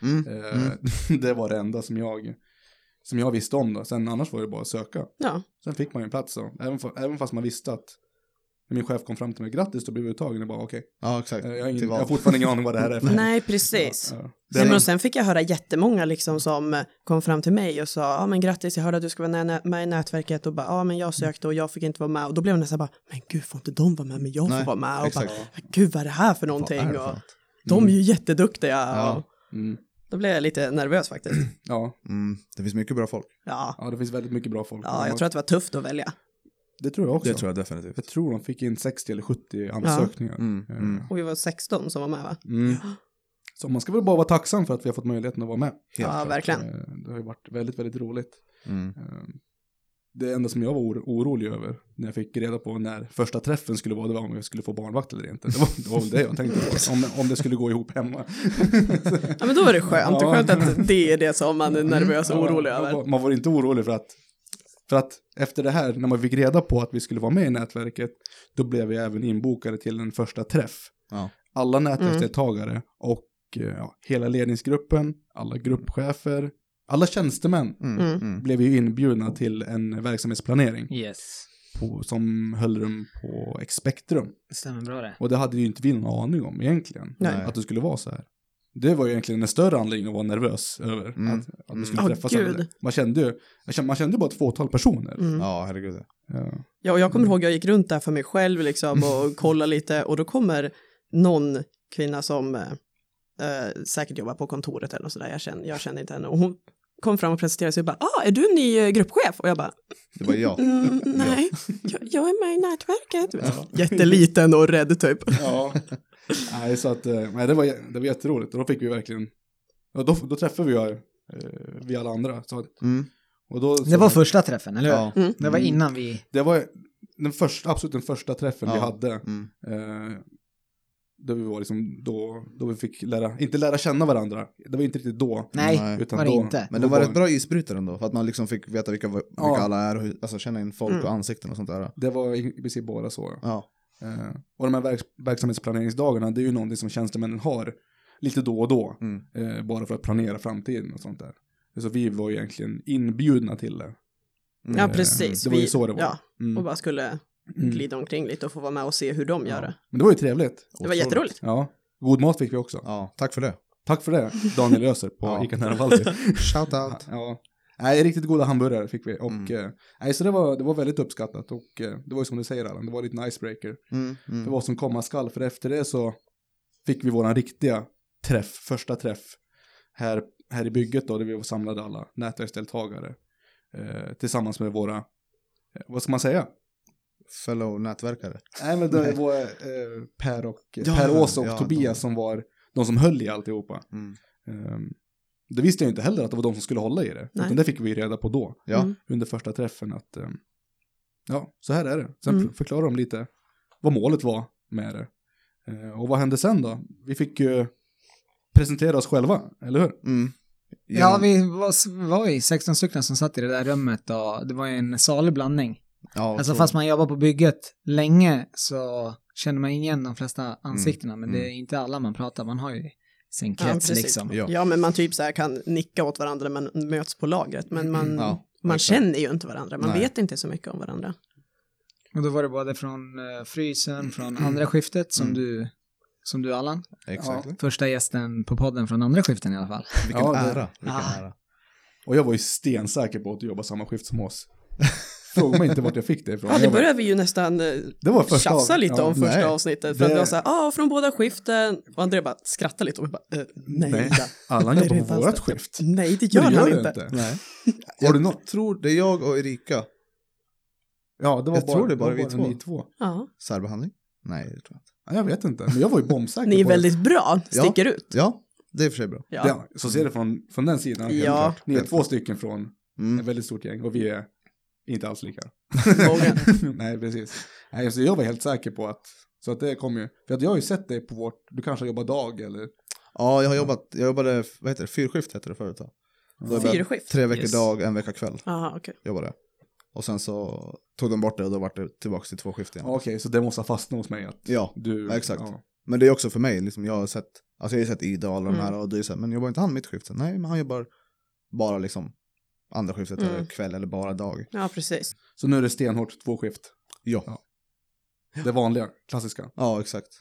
Speaker 2: Mm.
Speaker 3: Eh,
Speaker 2: Mm.
Speaker 3: det var det enda som jag, som jag visste om då. Sen annars var det bara att söka.
Speaker 4: Ja.
Speaker 3: Sen fick man ju en plats då. Även, fa- även fast man visste att när min chef kom fram till mig, grattis, du blev uttagen. Jag bara okej,
Speaker 2: Ja, exakt.
Speaker 3: eh, jag, har ingen-
Speaker 2: Till
Speaker 3: jag
Speaker 2: vad?
Speaker 3: har fortfarande ingen aning vad det här är för
Speaker 4: Nej, precis.
Speaker 3: Ja, ja.
Speaker 2: Det-
Speaker 4: Nej, men och sen fick jag höra jättemånga liksom som kom fram till mig och sa, ja ah, men grattis, jag hörde att du ska vara nä- med i nätverket och bara, ja ah, men jag sökte och jag fick inte vara med och då blev jag nästan bara, men gud får inte de vara med, men jag får
Speaker 2: Nej,
Speaker 4: vara med och
Speaker 2: exakt.
Speaker 4: bara, gud vad är det här för
Speaker 2: Vad är
Speaker 4: någonting
Speaker 2: det för
Speaker 4: och
Speaker 2: något?
Speaker 4: de är ju jätteduktiga
Speaker 2: Ja.
Speaker 4: och
Speaker 3: Mm.
Speaker 4: då blev jag lite nervös faktiskt.
Speaker 3: Ja,
Speaker 2: Mm. Det finns mycket bra folk.
Speaker 4: Ja,
Speaker 3: ja, det finns väldigt mycket bra folk.
Speaker 4: ja jag
Speaker 3: De-
Speaker 4: tror att det var tufft att välja
Speaker 3: Det tror jag också.
Speaker 2: Det tror jag definitivt.
Speaker 3: jag tror de fick in 60 eller 70 ansökningar.
Speaker 2: Mm.
Speaker 3: Eh,
Speaker 2: Mm.
Speaker 4: och vi var 16 som var med va?
Speaker 3: Mm. Så man ska väl bara vara tacksam för att vi har fått möjligheten att vara med.
Speaker 2: Helt
Speaker 4: ja,
Speaker 2: klart.
Speaker 4: verkligen.
Speaker 3: Eh, Det har ju varit väldigt, väldigt roligt.
Speaker 2: Mm.
Speaker 3: Eh, Det enda som jag var or- orolig över när jag fick reda på när första träffen skulle vara, det var om jag skulle få barnvakt eller inte. Det var, det var väl det jag tänkte på, om, om det skulle gå ihop hemma.
Speaker 4: Ja men då var det skönt,
Speaker 3: Ja.
Speaker 4: skönt att det är det som man är nervös och Alltså, orolig
Speaker 3: Ja, man
Speaker 4: över.
Speaker 3: var- Man var inte orolig för att, för För att efter det här, när man fick reda på att vi skulle vara med i nätverket, då blev vi även inbokade till en första träff.
Speaker 2: Ja.
Speaker 3: Alla nätverksdeltagare
Speaker 4: Mm.
Speaker 3: och eh, ja, hela ledningsgruppen, alla gruppchefer, alla tjänstemän
Speaker 2: Mm,
Speaker 4: Mm.
Speaker 2: mm.
Speaker 3: blev ju inbjudna till en verksamhetsplanering
Speaker 1: Yes.
Speaker 3: på, som höll rum på Expectrum.
Speaker 1: Det stämmer bra det.
Speaker 3: Och det hade ju inte vi någon aning om egentligen,
Speaker 4: Nej.
Speaker 3: att det skulle vara så här. Det var ju egentligen en större anledning att vara nervös över
Speaker 2: Mm.
Speaker 3: att, att vi skulle
Speaker 4: Mm.
Speaker 3: träffas.
Speaker 4: Åh,
Speaker 3: över
Speaker 4: gud.
Speaker 3: det. Man kände ju jag kände, man kände bara ett fåtal personer.
Speaker 4: Mm.
Speaker 2: Ja, herregud.
Speaker 3: Ja.
Speaker 4: Ja, och jag kommer
Speaker 3: Mm.
Speaker 4: ihåg jag gick runt där för mig själv liksom och kollade lite och då kommer någon kvinna som eh, eh, säkert jobbar på kontoret eller något sådär, jag känner, jag känner inte henne och hon kom fram och presenterade sig och bara, ah, är du ny eh, gruppchef? Och jag bara,
Speaker 2: Det var jag.
Speaker 4: mm, nej, jag, jag är med i nätverket. Jätteliten och rädd typ.
Speaker 3: Ja. nej, så att, eh, nej, det var, det var jätteroligt. Och då fick vi verkligen, och då, då träffade vi, eh, vi alla andra. Så, att-
Speaker 2: Mm.
Speaker 3: och då, så,
Speaker 1: Det var första träffen, eller hur?
Speaker 2: Ja.
Speaker 4: Mm.
Speaker 1: Det var innan vi...
Speaker 3: Det var den första, absolut den första träffen vi
Speaker 2: Ja.
Speaker 3: hade.
Speaker 2: Mm.
Speaker 3: Eh, då vi var liksom, då, då vi fick lära, inte lära känna varandra. Det var inte riktigt då.
Speaker 1: Nej,
Speaker 2: Nej.
Speaker 3: Utan
Speaker 1: var det
Speaker 3: då-
Speaker 1: inte.
Speaker 2: Men det var rätt bra isbrytare ändå, för att man liksom fick veta vilka, vilka
Speaker 3: Ja.
Speaker 2: alla är och hur, alltså känna in folk
Speaker 4: Mm.
Speaker 2: och ansikten och sånt där.
Speaker 3: Det var i i princip bara så. ja.
Speaker 2: Ja.
Speaker 3: Eh, och de här verks verksamhetsplaneringsdagarna, det är ju någonting som tjänstemännen har lite då och då.
Speaker 2: Mm.
Speaker 3: Eh, bara för att planera framtiden och sånt där. Så vi var ju egentligen inbjudna till det.
Speaker 2: Mm.
Speaker 4: Ja, precis.
Speaker 3: det var ju så det var.
Speaker 4: Ja,
Speaker 3: Mm.
Speaker 4: och bara skulle
Speaker 3: Mm.
Speaker 4: glida omkring lite och få vara med och se hur de gör det.
Speaker 3: Men det var ju trevligt.
Speaker 4: Det var jätteroligt.
Speaker 3: Ja. God mat fick vi också.
Speaker 2: Ja, tack för det.
Speaker 3: Tack för det, Daniel Öser på
Speaker 2: Ja.
Speaker 3: Ica nära Vallby.
Speaker 2: Shout out.
Speaker 3: Ja. Nej, riktigt goda hamburgare fick vi. Och,
Speaker 2: Mm.
Speaker 3: eh, nej, så det var, det var väldigt uppskattat. Och eh, det var ju som du säger Allan, det var lite en icebreaker.
Speaker 2: Mm.
Speaker 3: Det
Speaker 2: Mm.
Speaker 3: var som komma skall, för efter det så fick vi våran riktiga träff, första träff här, här i bygget då, där vi samlade alla nätverksdeltagare eh, tillsammans med våra, eh, vad ska man säga?
Speaker 2: Fellow nätverkare.
Speaker 3: Nej, men det
Speaker 2: Nej.
Speaker 3: var eh, Per och
Speaker 2: Ja,
Speaker 3: Per Ås och
Speaker 2: ja,
Speaker 3: Tobias
Speaker 2: de-
Speaker 3: som var de som höll i alltihopa.
Speaker 2: Mm.
Speaker 3: Ehm, det visste jag inte heller att det var de som skulle hålla i det.
Speaker 4: Nej.
Speaker 3: Utan det fick vi reda på då,
Speaker 2: Ja.
Speaker 4: Mm.
Speaker 3: under första träffen, att ehm, ja, så här är det. Sen
Speaker 4: Mm.
Speaker 3: mm. förklarar de lite vad målet var med det. Eh, och vad hände sen då? Vi fick ju presentera oss själva, eller hur?
Speaker 2: Mm.
Speaker 1: Ja, vi var, var ju 16 stycken som satt i det där rummet och det var ju en salig blandning.
Speaker 2: Ja,
Speaker 1: Alltså
Speaker 2: så-
Speaker 1: fast man jobbar på bygget länge så känner man igen de
Speaker 2: Mm,
Speaker 1: flesta ansiktena, men det är inte alla man pratar, man har ju sin
Speaker 4: Ja,
Speaker 1: krets
Speaker 4: precis.
Speaker 1: liksom.
Speaker 2: Ja.
Speaker 4: Ja, men man typ så här kan nicka åt varandra men möts på lagret. Men man,
Speaker 2: Ja,
Speaker 4: man
Speaker 2: exakt.
Speaker 4: känner ju inte varandra. Man
Speaker 2: Nej.
Speaker 4: vet inte så mycket om varandra.
Speaker 1: Och då var det både från eh, frysen, från andra skiftet som
Speaker 2: Mm.
Speaker 1: du, som du Allan,
Speaker 2: Exakt.
Speaker 1: första gästen på podden från andra skiften i alla fall.
Speaker 2: Vilken
Speaker 3: Ja, det-
Speaker 2: ära. Vilken
Speaker 1: Ah.
Speaker 2: ära.
Speaker 3: Och jag var ju stensäker på att du jobbar samma skift som oss. Fråga mig inte vart jag fick det ifrån.
Speaker 4: Ja, det
Speaker 3: Jag var-
Speaker 4: började vi ju nästan eh,
Speaker 3: det var första
Speaker 4: tjafsa
Speaker 3: av-
Speaker 4: lite
Speaker 3: ja,
Speaker 4: om första
Speaker 2: nej.
Speaker 4: avsnittet. För att
Speaker 3: Det-
Speaker 4: vi var så här, ah, från båda skiften. Och André bara skrattade lite och vi bara, eh, nej,
Speaker 3: Nej.
Speaker 4: nej.
Speaker 3: Allan jobbar
Speaker 4: det
Speaker 3: på
Speaker 4: fanns
Speaker 3: vårat
Speaker 4: det.
Speaker 3: skift.
Speaker 4: nej, det
Speaker 3: Men
Speaker 4: gör
Speaker 3: det
Speaker 4: han
Speaker 3: du
Speaker 4: inte.
Speaker 2: Nej.
Speaker 3: Har du något?
Speaker 2: Tror det är jag och Erika.
Speaker 3: Ja, det var
Speaker 2: Jag
Speaker 3: bara,
Speaker 2: tror det är bara
Speaker 3: var
Speaker 2: vi två.
Speaker 3: ni två.
Speaker 4: Ja.
Speaker 2: Särbehandling? Nej, det tror jag inte.
Speaker 3: Ja, jag vet inte, men jag var ju bombsäker
Speaker 4: Ni är
Speaker 3: på det.
Speaker 4: väldigt bra,
Speaker 2: Ja.
Speaker 4: sticker ut.
Speaker 2: Ja, det är i och för sig bra.
Speaker 4: Ja.
Speaker 3: Ja, så ser det från, från den sidan. helt
Speaker 4: Ja.
Speaker 3: klart. Ni är två stycken från ett
Speaker 2: Mm.
Speaker 3: väldigt stort gäng och vi är inte alls lika.
Speaker 4: Många.
Speaker 3: Nej, precis. Nej, så jag var helt säker på att, så att det kom ju, för att jag har ju sett dig på vårt, du kanske jobbar dag eller,
Speaker 2: Ja, jag har jobbat, jag jobbade, vad heter det, fyrskift heter det förut då. Då jobbade jag
Speaker 4: Fyrskift?
Speaker 2: Tre veckor
Speaker 1: Yes.
Speaker 2: dag, en vecka kväll
Speaker 4: Aha, okej.
Speaker 2: jobbade jag. Och sen så tog de bort det och då var det tillbaka till två skift igen.
Speaker 3: Ja, okej, så det måste ha fastnat hos mig att
Speaker 2: Ja,
Speaker 3: du,
Speaker 2: Ja, exakt.
Speaker 3: Ja,
Speaker 2: men det är också för mig, liksom, jag har sett, alltså jag har sett Ida och alla de
Speaker 4: Mm.
Speaker 2: här och det är så här, men jobbar inte han mitt skift? Så, Nej, men han jobbar bara liksom andra skiftet
Speaker 4: Mm.
Speaker 2: eller kväll eller bara dag.
Speaker 4: Ja, precis.
Speaker 3: så nu är det stenhårt två skift,
Speaker 2: Ja,
Speaker 3: Ja.
Speaker 2: ja,
Speaker 3: det vanliga, klassiska.
Speaker 2: exakt.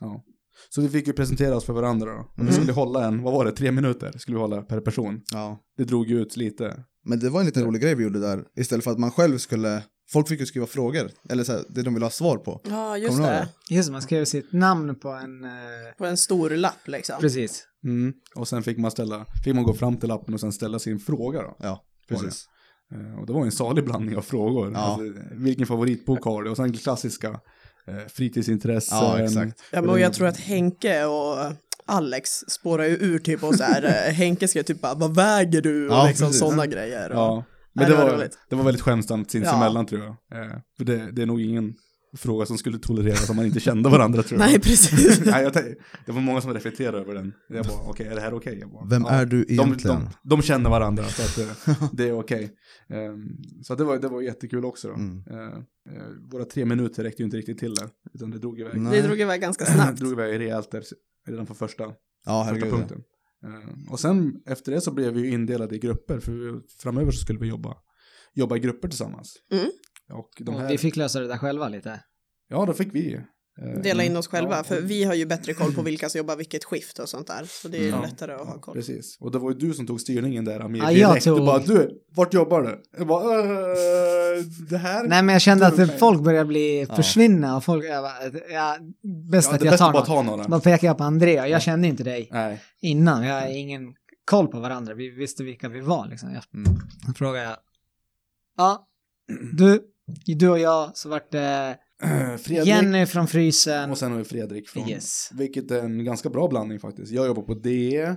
Speaker 3: Så vi fick ju presentera oss för varandra då. Och Vi
Speaker 2: Mm.
Speaker 3: skulle hålla en, vad var det, tre minuter skulle vi hålla per person.
Speaker 2: Ja.
Speaker 3: Det drog ju ut lite.
Speaker 2: Men det var en liten rolig grej vi gjorde där, istället för att man själv skulle, folk fick ju skriva frågor, eller så här, det de ville ha svar på.
Speaker 4: Ja, just
Speaker 2: Kommer du ihåg
Speaker 4: det.
Speaker 1: Just det, man skrev sitt namn på en... Eh,
Speaker 4: På en stor lapp liksom.
Speaker 1: precis.
Speaker 3: Mm. Och sen fick man ställa, fick man gå fram till lappen och sen ställa sin fråga då.
Speaker 2: Ja,
Speaker 3: Var
Speaker 2: precis.
Speaker 3: det. Eh, Och det var en salig blandning av frågor.
Speaker 2: Ja.
Speaker 3: Alltså, vilken favoritbok har du? Och sen klassiska eh, fritidsintressen.
Speaker 2: Ja, exakt.
Speaker 4: Ja, men och jag tror att Henke och eh, Alex spårar ju ur typ och så här, eh, Henke skrev typ bara, vad väger du? Och
Speaker 2: Ja,
Speaker 4: liksom
Speaker 2: precis.
Speaker 4: sådana grejer. Och,
Speaker 3: Ja. Men
Speaker 4: Nej,
Speaker 3: det,
Speaker 4: det var
Speaker 3: var,
Speaker 4: roligt.
Speaker 3: det var väldigt skämtsamt sinsemellan tror jag. Eh, För det, det är nog ingen fråga som skulle tolereras om man inte kände varandra tror jag.
Speaker 4: Nej, precis.
Speaker 3: Nej, jag tänkte- det var många som reflekterade över den. Jag bara, okej, är det här okej? Jag bara,
Speaker 2: Vem
Speaker 3: ja.
Speaker 2: är du
Speaker 3: de,
Speaker 2: egentligen?
Speaker 3: de, de känner varandra, så att, eh, det är okej. Ehm, så att det, var, det var jättekul också. Då.
Speaker 2: Mm.
Speaker 3: Eh, eh, våra tre minuter räckte ju inte riktigt till där, utan det drog iväg.
Speaker 2: Nej.
Speaker 4: Det drog iväg ganska snabbt.
Speaker 3: Det drog iväg rejält där, redan från första,
Speaker 2: Ja,
Speaker 3: första
Speaker 2: herregud.
Speaker 3: punkten. Eh, och sen efter det så blev vi ju indelade i grupper, för vi, framöver så skulle vi jobba, jobba i grupper tillsammans.
Speaker 4: Mm.
Speaker 3: Och de
Speaker 1: Och
Speaker 3: här,
Speaker 1: Vi fick lösa det där själva lite.
Speaker 3: ja, då fick vi. eh,
Speaker 4: Dela in oss själva,
Speaker 3: ja,
Speaker 4: för
Speaker 3: och-
Speaker 4: vi har ju bättre koll på vilka som jobbar vilket skift och sånt där. Så det är ju
Speaker 3: Ja.
Speaker 4: lättare att ha koll.
Speaker 3: Precis, och det var ju du som tog styrningen där Amir
Speaker 1: Ja,
Speaker 3: direkt.
Speaker 1: jag
Speaker 3: Du
Speaker 1: tog-
Speaker 3: bara, du, vart jobbar du? Jag bara, "Eh, det här.
Speaker 1: Nej, men jag kände att det- folk började bli
Speaker 2: Ja.
Speaker 1: försvinna och folk, jag bara, ja, bäst
Speaker 3: ja,
Speaker 1: att
Speaker 3: det är
Speaker 1: jag
Speaker 3: bäst
Speaker 1: tar
Speaker 3: att bara
Speaker 1: någon.
Speaker 3: ta några.
Speaker 1: Då pekade jag på André och
Speaker 3: Ja.
Speaker 1: jag kände inte dig
Speaker 3: Nej.
Speaker 1: innan. Vi hade ingen koll på varandra. Vi visste vilka vi var liksom. Jag
Speaker 2: Mm.
Speaker 1: Då frågade jag. Ja, du, du och jag så vart det
Speaker 3: Fredrik.
Speaker 1: Jenny från frysen.
Speaker 3: Och sen har vi Fredrik från.
Speaker 1: Yes.
Speaker 3: Vilket är en ganska bra blandning faktiskt. Jag jobbar på DE.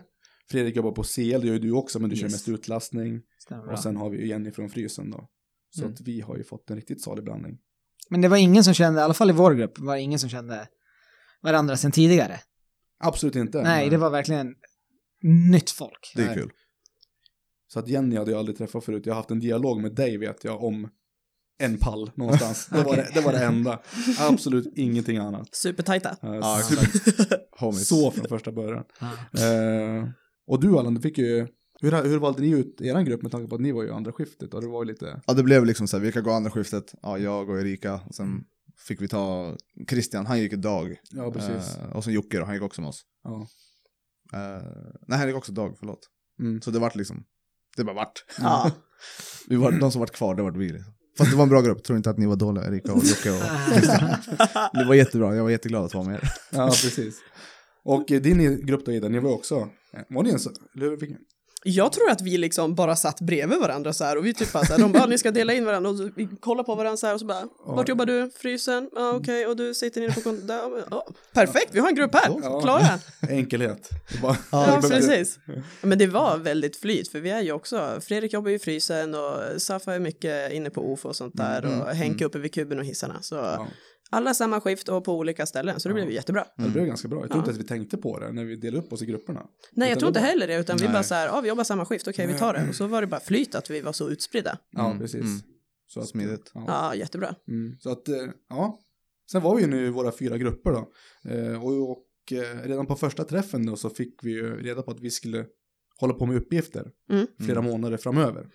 Speaker 3: Fredrik jobbar på CL, det gör ju du också, men du kör
Speaker 1: Yes.
Speaker 3: mest utlastning.
Speaker 1: Stämmer bra.
Speaker 3: Och sen har vi ju Jenny från frysen då. Så
Speaker 1: Mm.
Speaker 3: att vi har ju fått en riktigt salig blandning.
Speaker 1: Men det var ingen som kände, i alla fall i vår grupp, var det ingen som kände varandra sedan tidigare.
Speaker 3: Absolut inte.
Speaker 1: Nej, det var verkligen nytt folk.
Speaker 2: Det är
Speaker 3: Nej.
Speaker 2: kul.
Speaker 3: Så att Jenny hade jag aldrig träffat förut. Jag har haft en dialog med dig vet jag om en pall någonstans. Det var det, det, var det enda. Absolut ingenting annat.
Speaker 4: Supertajta.
Speaker 3: Eh,
Speaker 2: Ja,
Speaker 3: super-
Speaker 2: Homies.
Speaker 3: Så från första början.
Speaker 1: Ja.
Speaker 3: Eh, och du Allan, du fick ju... Hur, hur valde ni ut er grupp med tanke på att ni var ju andra skiftet och det var ju lite...
Speaker 2: Ja, det blev liksom så här, vilka går andra skiftet? Ja, jag och Erika. Och sen fick vi ta Christian, han gick ett dag.
Speaker 3: Ja, precis.
Speaker 2: Eh, och sen Jocke då, han gick också med oss.
Speaker 3: Ja.
Speaker 2: Eh, nej, han gick också dag, förlåt.
Speaker 3: Mm.
Speaker 2: Så det vart liksom, det bara vart.
Speaker 4: Ja.
Speaker 2: Vi var, de som vart kvar, det vart vi. Liksom. Fast det var en bra grupp, tror inte att ni var dåliga, Erika och Jocke och Christian. Det var jättebra, jag var jätteglad att vara med er.
Speaker 3: ja, precis. Och eh, din grupp då Ida, ni var ju också... eh, Var ni en så... eller hur fick-
Speaker 4: Jag tror att vi liksom bara satt bredvid varandra så här och vi typ bara så här, de bara, ni ska dela in varandra och så, vi kollar på varandra så här och så bara, vart jobbar du? Frysen? Ja, okej, och du sitter nere på kontoret? Ja, men, ja. perfekt, vi har en grupp
Speaker 3: Ja.
Speaker 4: här, klara.
Speaker 3: Enkelhet. Det var-
Speaker 4: Ja,
Speaker 3: det behövde-
Speaker 4: precis. Men det var väldigt flyt, för vi är ju också, Fredrik jobbar ju i frysen och Safa är mycket inne på OFO och sånt där och Henke uppe vid kuben och hissarna. Så
Speaker 3: Mm, Ja. Mm.
Speaker 4: alla samma skift och på olika ställen, så det blev ju jättebra.
Speaker 3: Det
Speaker 2: Mm.
Speaker 3: blev ganska bra. Jag tror inte att vi tänkte på det när vi delade upp oss i grupperna.
Speaker 4: Nej, jag
Speaker 3: Utan
Speaker 4: tror
Speaker 3: det
Speaker 4: inte
Speaker 3: var-
Speaker 4: heller det, utan vi bara så här, ja, vi jobbar samma skift, okej, vi tar det. Och så var det bara flyt att vi var så utspridda.
Speaker 3: Ja,
Speaker 2: Mm,
Speaker 3: precis.
Speaker 2: mm.
Speaker 3: Så att,
Speaker 2: Smidigt.
Speaker 3: Ja.
Speaker 4: Ja, jättebra.
Speaker 3: Mm. Så att, eh, ja. Sen var vi ju nu i våra fyra grupper då. Eh, Och, och eh, redan på första träffen då så fick vi ju reda på att vi skulle hålla på med uppgifter
Speaker 4: Mm.
Speaker 3: flera månader framöver.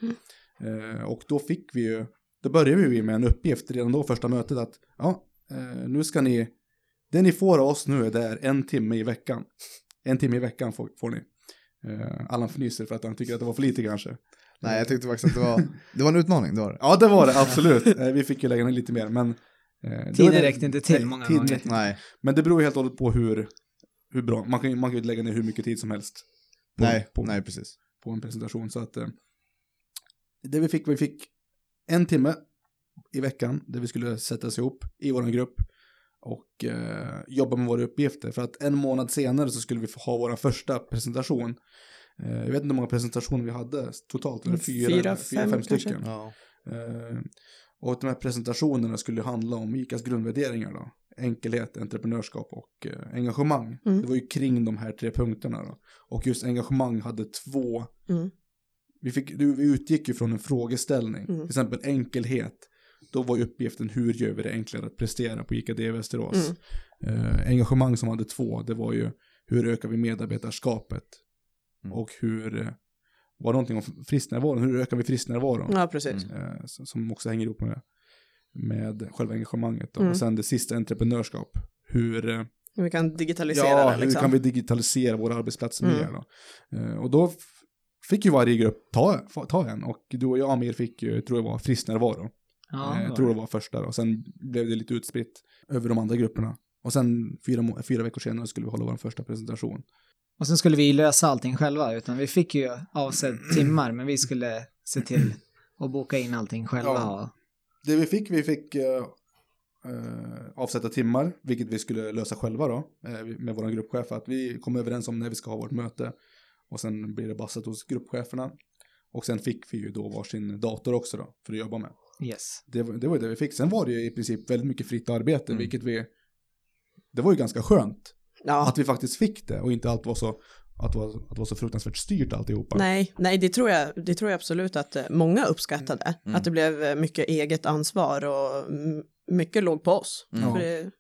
Speaker 3: Eh, Och då fick vi ju, då började vi ju med en uppgift redan då första mötet att ja, eh, nu ska ni, det ni får av oss nu är det är en timme i veckan. En timme i veckan får, får ni. Eh, Allan fnyser för att han tycker att det var för lite kanske.
Speaker 2: Nej, jag tyckte faktiskt att det var, det var en utmaning, det var det.
Speaker 3: Ja, det var det absolut. Eh, Vi fick ju lägga ner lite mer, men... eh, det var
Speaker 1: Tiden
Speaker 3: det-
Speaker 1: räckte inte till
Speaker 3: Nej,
Speaker 1: många
Speaker 3: tiden
Speaker 1: gånger.
Speaker 3: räckte-
Speaker 2: Nej,
Speaker 3: Men det beror ju helt och hållet på hur, hur bra. Man kan ju man kan ju lägga ner hur mycket tid som helst På-
Speaker 2: nej,
Speaker 3: på-
Speaker 2: nej precis.
Speaker 3: på en presentation. Så att eh, det vi fick, vi fick en timme i veckan där vi skulle sättas ihop i vår grupp och eh, jobba med våra uppgifter. För att en månad senare så skulle vi få ha vår första presentation. Eh, jag vet inte hur många presentationer vi hade totalt. eller Fyra,
Speaker 4: Mm, Fyra,
Speaker 3: fyra,
Speaker 4: fem
Speaker 3: fem
Speaker 4: kanske.
Speaker 3: stycken.
Speaker 2: Ja.
Speaker 3: Eh, och de här presentationerna skulle handla om ICAs grundvärderingar då. Enkelhet, entreprenörskap och eh, engagemang.
Speaker 4: Mm.
Speaker 3: Det var ju kring de här tre punkterna då. Och just engagemang hade två.
Speaker 4: Mm.
Speaker 3: Vi, fick, du- vi utgick ju från en frågeställning.
Speaker 4: Mm.
Speaker 3: Till exempel enkelhet. Då var ju uppgiften hur gör vi det enklare att prestera på ICA D Västerås.
Speaker 4: Mm.
Speaker 3: Eh, engagemang som hade två, det var ju hur ökar vi medarbetarskapet?
Speaker 2: Mm.
Speaker 3: Och hur, eh, var det någonting om fristnärvaron? Hur ökar vi fristnärvaron?
Speaker 4: Ja, precis.
Speaker 2: Mm.
Speaker 3: eh, som- som också hänger ihop med, med själva engagemanget. Då.
Speaker 4: Mm.
Speaker 3: Och sen det sista, entreprenörskap. Hur, eh,
Speaker 4: Vi kan digitalisera
Speaker 3: ja,
Speaker 4: det
Speaker 3: hur
Speaker 4: liksom.
Speaker 3: kan vi digitalisera våra arbetsplatser
Speaker 4: Mm.
Speaker 3: mer? Då? Eh, och då f- fick ju varje grupp ta, få- ta en och du och jag Amir fick ju, tror jag var fristnärvaro.
Speaker 1: Ja,
Speaker 3: eh,
Speaker 1: det
Speaker 3: jag
Speaker 1: var
Speaker 3: tror
Speaker 1: det.
Speaker 3: det var första då. Sen blev det lite utspritt över de andra grupperna. Och sen fyra, må- fyra veckor senare skulle vi hålla vår första presentation.
Speaker 1: Och sen skulle vi ju lösa allting själva, utan vi fick ju avsett timmar, men vi skulle se till att boka in allting själva.
Speaker 3: Ja.
Speaker 1: Och,
Speaker 3: Det vi fick, vi fick eh, eh, avsätta timmar, vilket vi skulle lösa själva då, eh, med vår gruppchef, att vi kom överens om när vi ska ha vårt möte. Och sen blir det bassat hos gruppcheferna. Och sen fick vi ju då varsin dator också då, för att jobba med.
Speaker 1: Yes.
Speaker 3: Det, var- det var ju det vi fick. Sen var det ju i princip väldigt mycket fritt arbete,
Speaker 2: Mm.
Speaker 3: vilket vi... Det var ju ganska skönt
Speaker 4: Ja,
Speaker 3: att vi faktiskt fick det och inte allt var så, att det var, att det var så fruktansvärt styrt alltihopa.
Speaker 4: nej, nej det, tror jag, det tror jag absolut att eh, många uppskattade.
Speaker 2: Mm.
Speaker 4: Att det blev eh, mycket eget ansvar och mm, mycket låg på oss.
Speaker 2: Mm.
Speaker 4: För det,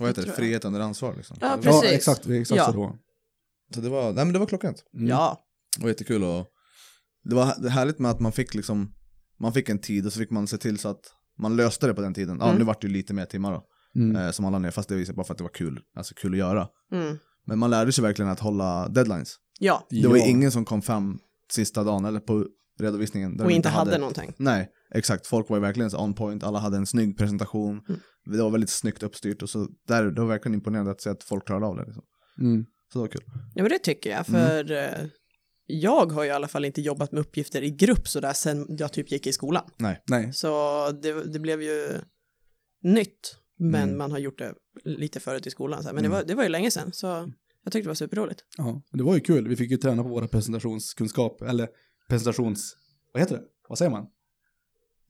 Speaker 2: Vad heter
Speaker 4: tror
Speaker 2: det?
Speaker 4: jag.
Speaker 2: Frihet under ansvar liksom.
Speaker 4: Ja,
Speaker 2: Det var-
Speaker 3: Ja,
Speaker 4: precis.
Speaker 3: exakt. exakt
Speaker 4: Ja.
Speaker 3: så det var.
Speaker 2: Så det var, nej men det var klockrent.
Speaker 3: Mm.
Speaker 4: Ja,
Speaker 2: Det var jättekul och det var härligt med att man fick liksom, man fick en tid och så fick man se till så att man löste det på den tiden. Ja,
Speaker 4: Mm.
Speaker 2: nu vart det ju lite mer timmar då,
Speaker 3: Mm.
Speaker 2: eh, som alla ner, fast det visade bara för att det var kul, alltså kul att göra.
Speaker 4: mm,
Speaker 2: Men man lärde sig verkligen att hålla deadlines.
Speaker 4: ja.
Speaker 2: Det var
Speaker 3: Ja.
Speaker 2: ju ingen som kom fram sista dagen eller på redovisningen. där
Speaker 4: och
Speaker 2: de
Speaker 4: inte hade någonting.
Speaker 2: Nej, exakt. Folk var ju verkligen så on point, alla hade en snygg presentation.
Speaker 4: Mm.
Speaker 2: Det var väldigt snyggt uppstyrt och så där, det var verkligen imponerande att se att folk klarade av det. Liksom.
Speaker 3: Mm.
Speaker 2: Så det var kul.
Speaker 4: Ja, men det tycker jag, för eh, jag har ju i alla fall inte jobbat med uppgifter i grupp sådär sen jag typ gick i skolan.
Speaker 3: Nej.
Speaker 4: Så det, det blev ju nytt, men
Speaker 2: Mm.
Speaker 4: man har gjort det lite förut i skolan. Så här. Men
Speaker 2: Mm.
Speaker 4: det, var, det var ju länge sedan, så jag tyckte det var superroligt.
Speaker 3: Ja, men det var ju kul. Vi fick ju träna på våra presentationskunskap, eller presentations... Vad heter det? Vad säger man?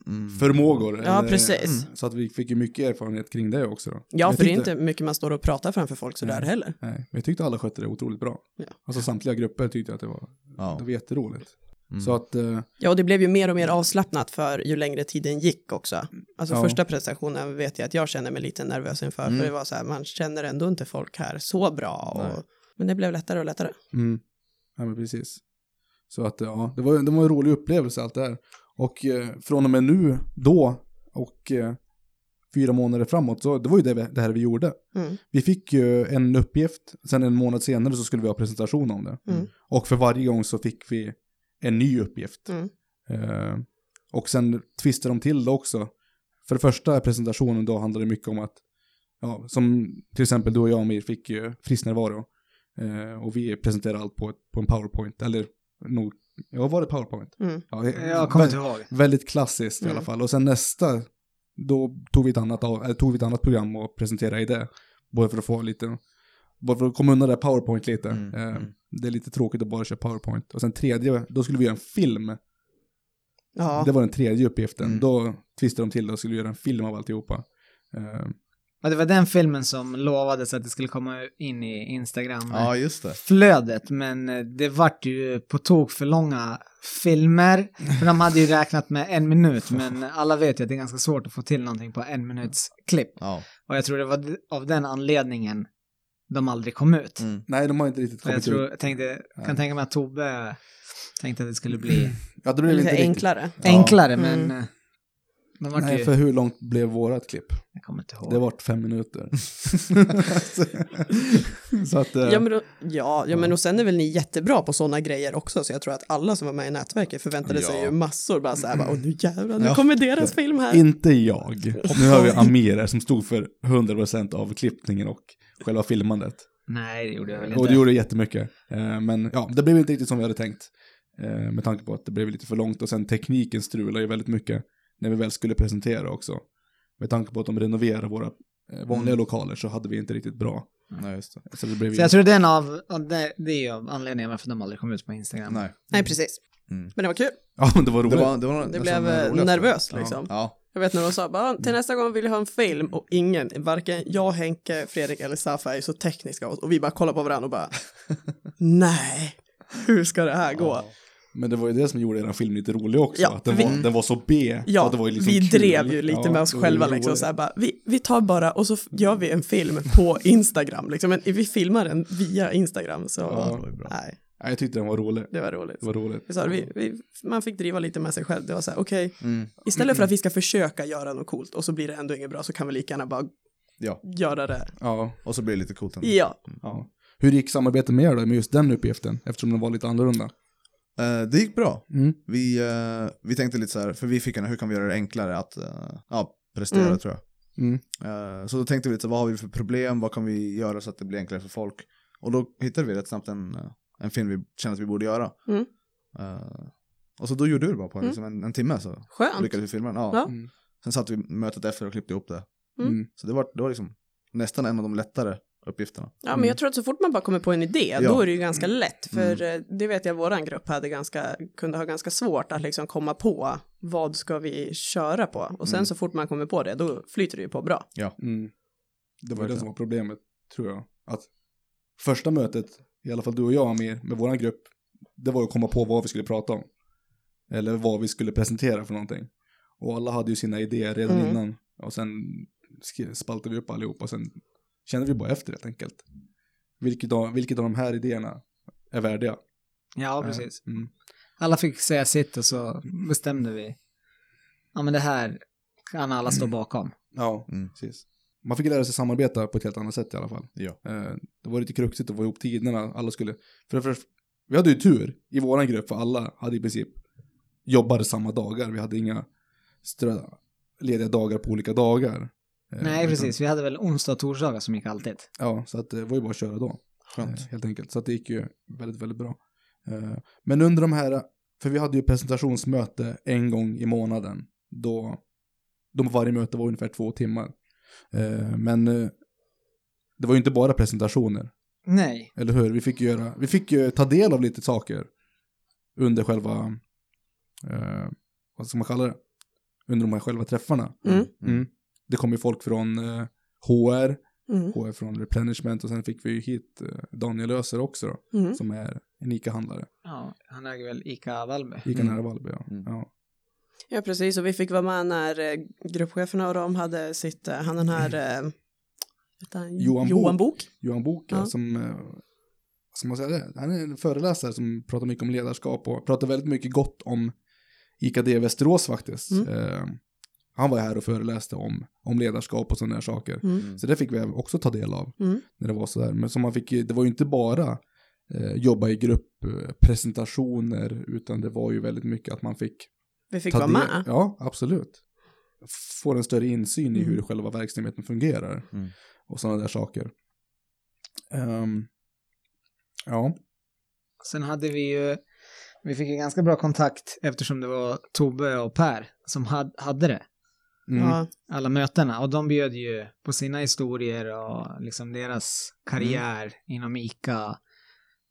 Speaker 2: Mm.
Speaker 3: Förmågor.
Speaker 4: Ja,
Speaker 3: eller- Mm.
Speaker 4: precis.
Speaker 3: Så att vi fick ju mycket erfarenhet kring det också. Men
Speaker 4: Ja,
Speaker 3: jag
Speaker 4: för det är
Speaker 3: tyckte-
Speaker 4: inte mycket man står och pratar framför folk sådär
Speaker 3: Nej.
Speaker 4: heller.
Speaker 3: Nej, men jag tyckte alla skötte det otroligt bra.
Speaker 4: Ja.
Speaker 3: Alltså samtliga grupper tyckte jag att det var,
Speaker 2: Ja.
Speaker 3: det var jätteroligt.
Speaker 2: Mm.
Speaker 3: Så att, eh,
Speaker 4: Ja, och det blev ju mer och mer avslappnat för ju längre tiden gick också. Alltså
Speaker 3: Ja.
Speaker 4: första presentationen vet jag att jag känner mig lite nervös inför,
Speaker 2: Mm.
Speaker 4: för det var så här, man känner ändå inte folk här så bra.
Speaker 2: Nej.
Speaker 4: Och, men det blev lättare och lättare.
Speaker 3: mm, ja men precis. Så att, eh, ja, det var, det var en rolig upplevelse allt det här. Och eh, från och med nu, då, och eh, fyra månader framåt, så det var ju det, vi- det här vi gjorde.
Speaker 4: Mm.
Speaker 3: Vi fick ju en uppgift, sen en månad senare så skulle vi ha presentation om det.
Speaker 4: Mm.
Speaker 3: Och för varje gång så fick vi en ny uppgift.
Speaker 4: Mm.
Speaker 3: Eh, och sen twistade de till det också. För det första presentationen då handlade det mycket om att, ja, som till exempel du och jag Amir fick ju fristnärvaro. Eh, och vi presenterade allt på, ett- på en powerpoint, eller nog, ja var det powerpoint?
Speaker 4: Mm.
Speaker 3: Ja, eh,
Speaker 1: Jag kommer
Speaker 3: vä-
Speaker 1: inte ihåg.
Speaker 3: Väldigt klassiskt i
Speaker 4: Mm.
Speaker 3: alla fall. Och sen nästa, då tog vi ett annat, av, eller tog vi ett annat program och presenterade i det. Både för att få lite, bara för att komma undan det här powerpoint lite.
Speaker 2: Mm,
Speaker 3: Eh,
Speaker 2: mm.
Speaker 3: Det är lite tråkigt att bara köra powerpoint. Och sen tredje, då skulle vi göra en film.
Speaker 4: Ja.
Speaker 3: Det var den tredje uppgiften.
Speaker 2: Mm.
Speaker 3: Då twistade de till det och skulle göra en film av alltihopa. Eh,
Speaker 1: Ja, det var den filmen som lovades att det skulle komma in i Instagram.
Speaker 2: Mm. ja, just det.
Speaker 1: flödet, men eh, det vart ju på tok för långa filmer. För de hade ju räknat med en minut, men alla vet ju att det är ganska svårt att få till någonting på en minuts klipp.
Speaker 2: Ja.
Speaker 1: Och jag tror det var d- av den anledningen de aldrig kom ut.
Speaker 2: Mm.
Speaker 3: nej, de har inte riktigt
Speaker 1: Och
Speaker 3: kommit
Speaker 1: jag tror,
Speaker 3: ut.
Speaker 1: jag tänkte,
Speaker 3: Nej. Mm.
Speaker 1: kan tänka mig att Tobbe tänkte att det skulle bli
Speaker 3: Ja, det blev
Speaker 4: Lite
Speaker 3: inte riktigt.
Speaker 4: enklare.
Speaker 3: Ja.
Speaker 1: enklare,
Speaker 4: Mm.
Speaker 1: men eh, de vart
Speaker 3: Nej,
Speaker 1: ju...
Speaker 3: för hur långt blev vårat klipp?
Speaker 1: Jag kommer inte ihåg.
Speaker 3: Det vart fem minuter. så att... eh,
Speaker 4: Ja men, då, ja, ja, men och sen är väl ni jättebra på sådana grejer också, så jag tror att alla som var med i nätverket förväntade sig
Speaker 2: Ja.
Speaker 4: ju massor, bara så här, bara, åh nu jävlar, nu
Speaker 2: Ja.
Speaker 4: kommer deras film här.
Speaker 3: Inte jag. Nu har vi Amir här som stod för 100% av klippningen och själva filmandet.
Speaker 1: Nej, det gjorde jag väl
Speaker 3: Och
Speaker 1: inte.
Speaker 3: det gjorde jättemycket. Eh, Men ja, det blev inte riktigt som vi hade tänkt. Eh, Med tanke på att det blev lite för långt och sen tekniken strulade ju väldigt mycket när vi väl skulle presentera också. Med tanke på att de renoverar våra eh, vanliga
Speaker 2: Mm.
Speaker 3: lokaler så hade vi inte riktigt bra.
Speaker 2: Nej, just det.
Speaker 3: Så det blev
Speaker 1: Så jag tror den av, av det, det är ju av anledningen varför de aldrig kom ut på Instagram.
Speaker 2: Nej.
Speaker 4: Nej, precis.
Speaker 2: Mm.
Speaker 4: Men det var kul.
Speaker 3: Ja, men det var roligt.
Speaker 2: Det, var, det, var
Speaker 4: Det
Speaker 2: nästan
Speaker 4: blev,
Speaker 2: det
Speaker 4: eh,
Speaker 2: roligaste.
Speaker 4: nervöst, liksom.
Speaker 2: Ja.
Speaker 4: Jag vet när de sa, bara, "Ah,
Speaker 3: Mm.
Speaker 4: till nästa gång vill jag ha en film, och ingen, varken jag, Henke, Fredrik eller Safa är ju så tekniska av oss, och vi bara kollar på varandra och bara, nej, hur ska det här gå?
Speaker 3: Men det var ju det som gjorde den filmen lite rolig också.
Speaker 4: Ja,
Speaker 3: att den,
Speaker 4: vi-
Speaker 3: var, den var så B.
Speaker 4: Ja,
Speaker 3: att det var ju liksom
Speaker 4: vi
Speaker 3: kul.
Speaker 4: drev ju lite
Speaker 3: Ja,
Speaker 4: med oss
Speaker 3: det var ju
Speaker 4: själva liksom
Speaker 3: roligt.
Speaker 4: så här bara, vi, vi tar bara och så f- gör vi en film på Instagram liksom, men vi filmar den via Instagram så,
Speaker 3: Ja,
Speaker 2: det var ju bra.
Speaker 4: nej,
Speaker 3: Ja, jag tyckte den var rolig.
Speaker 4: det var roligt.
Speaker 3: Det var roligt.
Speaker 4: Vi sa, det, vi, vi, man fick driva lite med sig själv, det var så här, okej,
Speaker 2: Mm.
Speaker 4: istället för att vi ska försöka göra något coolt och så blir det ändå inget bra så kan vi lika gärna bara
Speaker 2: ja,
Speaker 4: göra det.
Speaker 3: Ja,
Speaker 2: och så blir det lite coolt ändå.
Speaker 4: Ja,
Speaker 3: ja. Hur gick samarbetet med er då med just den uppgiften? Eftersom den var lite annorlunda.
Speaker 2: Eh, det gick bra.
Speaker 3: Mm.
Speaker 2: Vi, eh, vi tänkte lite så här, för vi fick en, hur kan vi göra det enklare att eh, ja, prestera
Speaker 4: Mm.
Speaker 2: tror jag.
Speaker 3: Mm.
Speaker 2: Eh, så då tänkte vi lite, så här, vad har vi för problem, vad kan vi göra så att det blir enklare för folk. Och då hittade vi rätt snabbt en, eh, en film vi kände att vi borde göra.
Speaker 4: Mm.
Speaker 2: Eh, och så då gjorde vi det bara på liksom, en, en timme så
Speaker 4: skönt.
Speaker 2: lyckades vi filma den. Ja.
Speaker 4: Ja.
Speaker 3: Mm.
Speaker 2: Sen satt vi mötet efter och klippte ihop det.
Speaker 4: Mm.
Speaker 2: Så det var, det var liksom nästan en av de lättare uppgifterna.
Speaker 4: Ja, men jag tror att så fort man bara kommer på en idé, då
Speaker 2: Ja. Mm.
Speaker 4: är det ju ganska lätt. För eh, det vet jag, våran grupp hade ganska, kunde ha ganska svårt att liksom komma på vad ska vi köra på? Och sen
Speaker 2: Mm.
Speaker 4: så fort man kommer på det, då flyter det ju på bra.
Speaker 3: Mm. Det var ju det
Speaker 2: Verkligen.
Speaker 3: som var problemet, tror jag. Att första mötet, i alla fall du och jag Amir, med vår grupp, det var ju att komma på vad vi skulle prata om. Eller vad vi skulle presentera för någonting. Och alla hade ju sina idéer redan
Speaker 4: Mm.
Speaker 3: innan. Och sen sk- spaltade vi upp allihopa och sen kände vi bara efter helt enkelt. Vilket av, vilket av de här idéerna är värdiga?
Speaker 1: Ja, precis.
Speaker 3: Mm.
Speaker 1: Alla fick säga sitt och så bestämde vi. Ja, men det här kan alla stå bakom.
Speaker 3: Ja,
Speaker 2: Mm.
Speaker 3: precis. Man fick lära sig samarbeta på ett helt annat sätt i alla fall.
Speaker 2: Ja.
Speaker 3: Eh, Det var lite kruxigt att få ihop tiderna. Alla skulle... För det första, vi hade ju tur i våran grupp för alla hade i princip jobbade samma dagar. Vi hade inga strö, lediga dagar på olika dagar. Eh,
Speaker 1: Nej,
Speaker 3: utan-
Speaker 1: precis. Vi hade väl onsdag och torsdagar som gick alltid.
Speaker 3: Ja, så att det var ju bara att köra då.
Speaker 2: Skönt.
Speaker 3: eh, Helt enkelt. Så att det gick ju väldigt, väldigt bra. Eh, Men under de här, för vi hade ju presentationsmöte en gång i månaden. Då, då varje möte var ungefär två timmar. Eh, Men eh, det var ju inte bara presentationer.
Speaker 1: Nej.
Speaker 3: Eller hur? Vi fick, göra, vi fick ju ta del av lite saker under själva, eh, vad ska man kalla det? Under de här själva träffarna.
Speaker 4: Mm.
Speaker 3: Mm. Det kom ju folk från eh, HR,
Speaker 4: Mm.
Speaker 3: HR från Replenishment och sen fick vi ju hit eh, Daniel Öser också då,
Speaker 4: Mm.
Speaker 3: som är en ICA-handlare.
Speaker 1: Ja, han äger väl Ica Valby.
Speaker 3: ICA
Speaker 2: Mm.
Speaker 3: nära Vallby, ja.
Speaker 2: Mm.
Speaker 3: ja.
Speaker 4: Ja, precis. Och vi fick vara med när eh, gruppcheferna och de hade sitt, eh, han den
Speaker 2: Mm.
Speaker 4: här, eh, heter han?
Speaker 3: Johan Bok.
Speaker 4: Johan Bok.
Speaker 3: Johan Boka
Speaker 4: Ja.
Speaker 3: som, eh, vad ska man säga det? Han är en föreläsare som pratar mycket om ledarskap och pratar väldigt mycket gott om IKD Västerås faktiskt.
Speaker 4: Mm.
Speaker 3: Eh, han var här och föreläste om, om ledarskap och sådana här saker.
Speaker 4: Mm.
Speaker 2: Mm.
Speaker 3: Så det fick vi också ta del av
Speaker 4: Mm.
Speaker 3: när det var sådär. Men som man fick, ju- det var ju inte bara eh, jobba i grupp, eh, presentationer, utan det var ju väldigt mycket att man fick
Speaker 4: Vi fick
Speaker 3: ta
Speaker 4: vara
Speaker 3: del-
Speaker 4: med.
Speaker 3: Ja, absolut. Får en större insyn i
Speaker 4: Mm.
Speaker 3: hur själva verksamheten fungerar.
Speaker 2: Mm.
Speaker 3: Och sådana där saker. Ehm, ja,
Speaker 1: Sen hade vi ju, vi fick ju ganska bra kontakt eftersom det var Tobbe och Per som had, hade det.
Speaker 3: mm,
Speaker 4: Ja.
Speaker 1: Alla mötena. Och de bjöd ju på sina historier och liksom deras
Speaker 4: Mm.
Speaker 1: karriär inom ICA.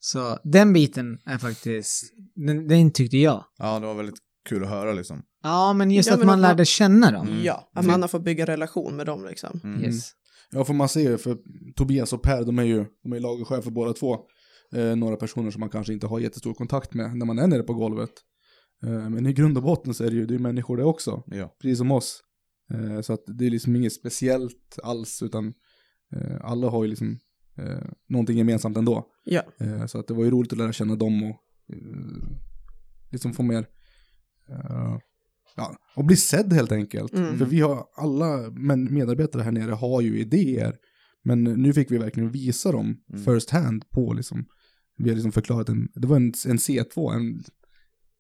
Speaker 1: Så den biten är faktiskt, den, den tyckte jag.
Speaker 2: Ja, det var väldigt kul att höra liksom.
Speaker 1: Ja, men just
Speaker 4: Ja,
Speaker 1: att
Speaker 4: men
Speaker 1: man
Speaker 4: att man-
Speaker 1: lärde känna dem.
Speaker 2: Mm.
Speaker 4: ja, att man har fått bygga relation med dem liksom.
Speaker 2: Mm.
Speaker 1: Yes.
Speaker 3: ja, för man ser ju, för Tobias och Per, de är ju de är lagerchefer båda två. Eh, några personer som man kanske inte har jättestor kontakt med när man är nere på golvet. Eh, men i grund och botten så är det ju, det är ju människor det också.
Speaker 2: Ja.
Speaker 3: precis som oss. Eh, så att det är liksom inget speciellt alls, utan eh, alla har ju liksom eh, någonting gemensamt ändå.
Speaker 4: Ja.
Speaker 3: Eh, så att det var ju roligt att lära känna dem och eh, liksom få mer, eh, ja, och bli sedd helt enkelt.
Speaker 4: Mm.
Speaker 3: För vi har, alla men medarbetare här nere har ju idéer, men nu fick vi verkligen visa dem
Speaker 2: Mm.
Speaker 3: first hand på liksom, vi har liksom förklarat en, det var en, en C2, en,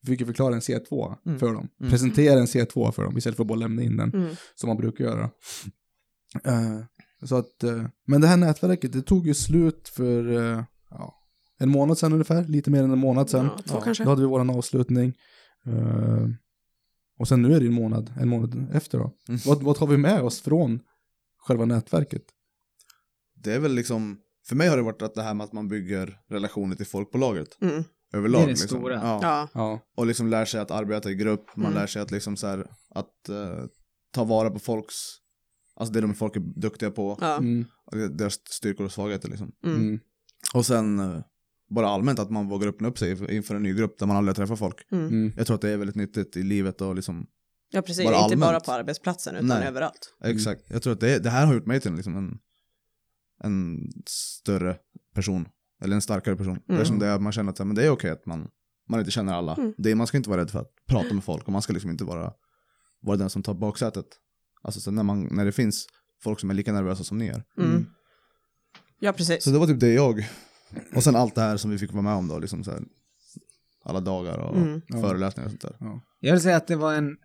Speaker 3: vi fick ju förklara en C2
Speaker 2: Mm.
Speaker 3: för dem,
Speaker 2: Mm.
Speaker 3: presentera en C2 för dem istället för att bara lämna in den
Speaker 4: Mm.
Speaker 3: som man brukar göra. Eh, så att, eh, men det här nätverket, det tog ju slut för eh, ja, en månad sedan ungefär, lite mer än en månad sedan.
Speaker 4: Ja, två kanske.
Speaker 3: Då hade vi vår avslutning. Eh, och sen nu är det en månad, en månad efter då.
Speaker 2: Mm.
Speaker 3: Vad, vad tar vi med oss från själva nätverket?
Speaker 2: Det är väl liksom, för mig har det varit att det här med att man bygger relationer till folk på laget
Speaker 4: Mm.
Speaker 2: överlag.
Speaker 1: Det är det
Speaker 2: liksom.
Speaker 1: stora.
Speaker 2: Ja.
Speaker 4: Ja.
Speaker 3: Ja,
Speaker 2: Och liksom lär sig att arbeta i grupp, man
Speaker 4: Mm.
Speaker 2: lär sig att liksom så här, att eh, ta vara på folks, alltså det de folk är duktiga på,
Speaker 4: Ja.
Speaker 3: mm,
Speaker 2: och deras styrkor och svagheter liksom.
Speaker 4: Mm.
Speaker 3: mm,
Speaker 2: Och sen eh, bara allmänt att man vågar öppna upp sig inför en ny grupp där man aldrig har träffat folk.
Speaker 4: Mm.
Speaker 3: mm,
Speaker 2: Jag tror att det är väldigt nyttigt i livet och liksom,
Speaker 4: Ja, precis.
Speaker 2: Bara
Speaker 4: Inte bara
Speaker 2: allmänt.
Speaker 4: på arbetsplatsen utan
Speaker 2: Nej.
Speaker 4: överallt.
Speaker 2: exakt. Jag tror att det, det här har gjort mig till liksom en, en större person, eller en starkare person. Eftersom det är, man känner att så här, men det är okej att man, man inte känner alla.
Speaker 4: Mm.
Speaker 2: Det, man ska inte vara rädd för att prata med folk och man ska liksom inte vara, vara den som tar baksätet. Alltså så när, man, när det finns folk som är lika nervösa som ni är.
Speaker 4: Mm. Ja, precis.
Speaker 2: Så det var typ det jag. Och sen allt det här som vi fick vara med om då, liksom så här, alla dagar och
Speaker 4: Mm.
Speaker 3: Ja.
Speaker 2: föreläsningar och sånt där.
Speaker 1: Jag vill säga att det var en,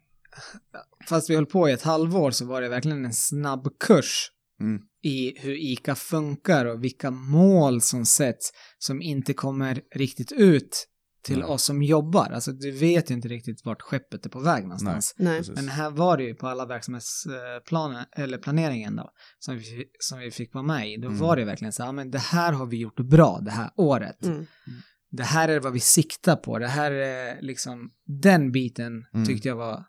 Speaker 1: fast vi höll på i ett halvår så var det verkligen en snabb kurs
Speaker 2: Mm.
Speaker 1: i hur ICA funkar och vilka mål som sätts som inte kommer riktigt ut till
Speaker 2: Nej.
Speaker 1: oss som jobbar. Alltså du vet ju inte riktigt vart skeppet är på väg någonstans.
Speaker 4: Nej.
Speaker 2: Precis.
Speaker 1: Men här var det ju på alla verksamhetsplaner, eller planeringen då, som vi, som vi fick vara med i, då
Speaker 2: Mm.
Speaker 1: var det verkligen så här, "Ja, men det här har vi gjort bra det här året.
Speaker 4: Mm.
Speaker 1: Det här är vad vi siktar på, det här är liksom, den biten
Speaker 2: Mm.
Speaker 1: tyckte jag var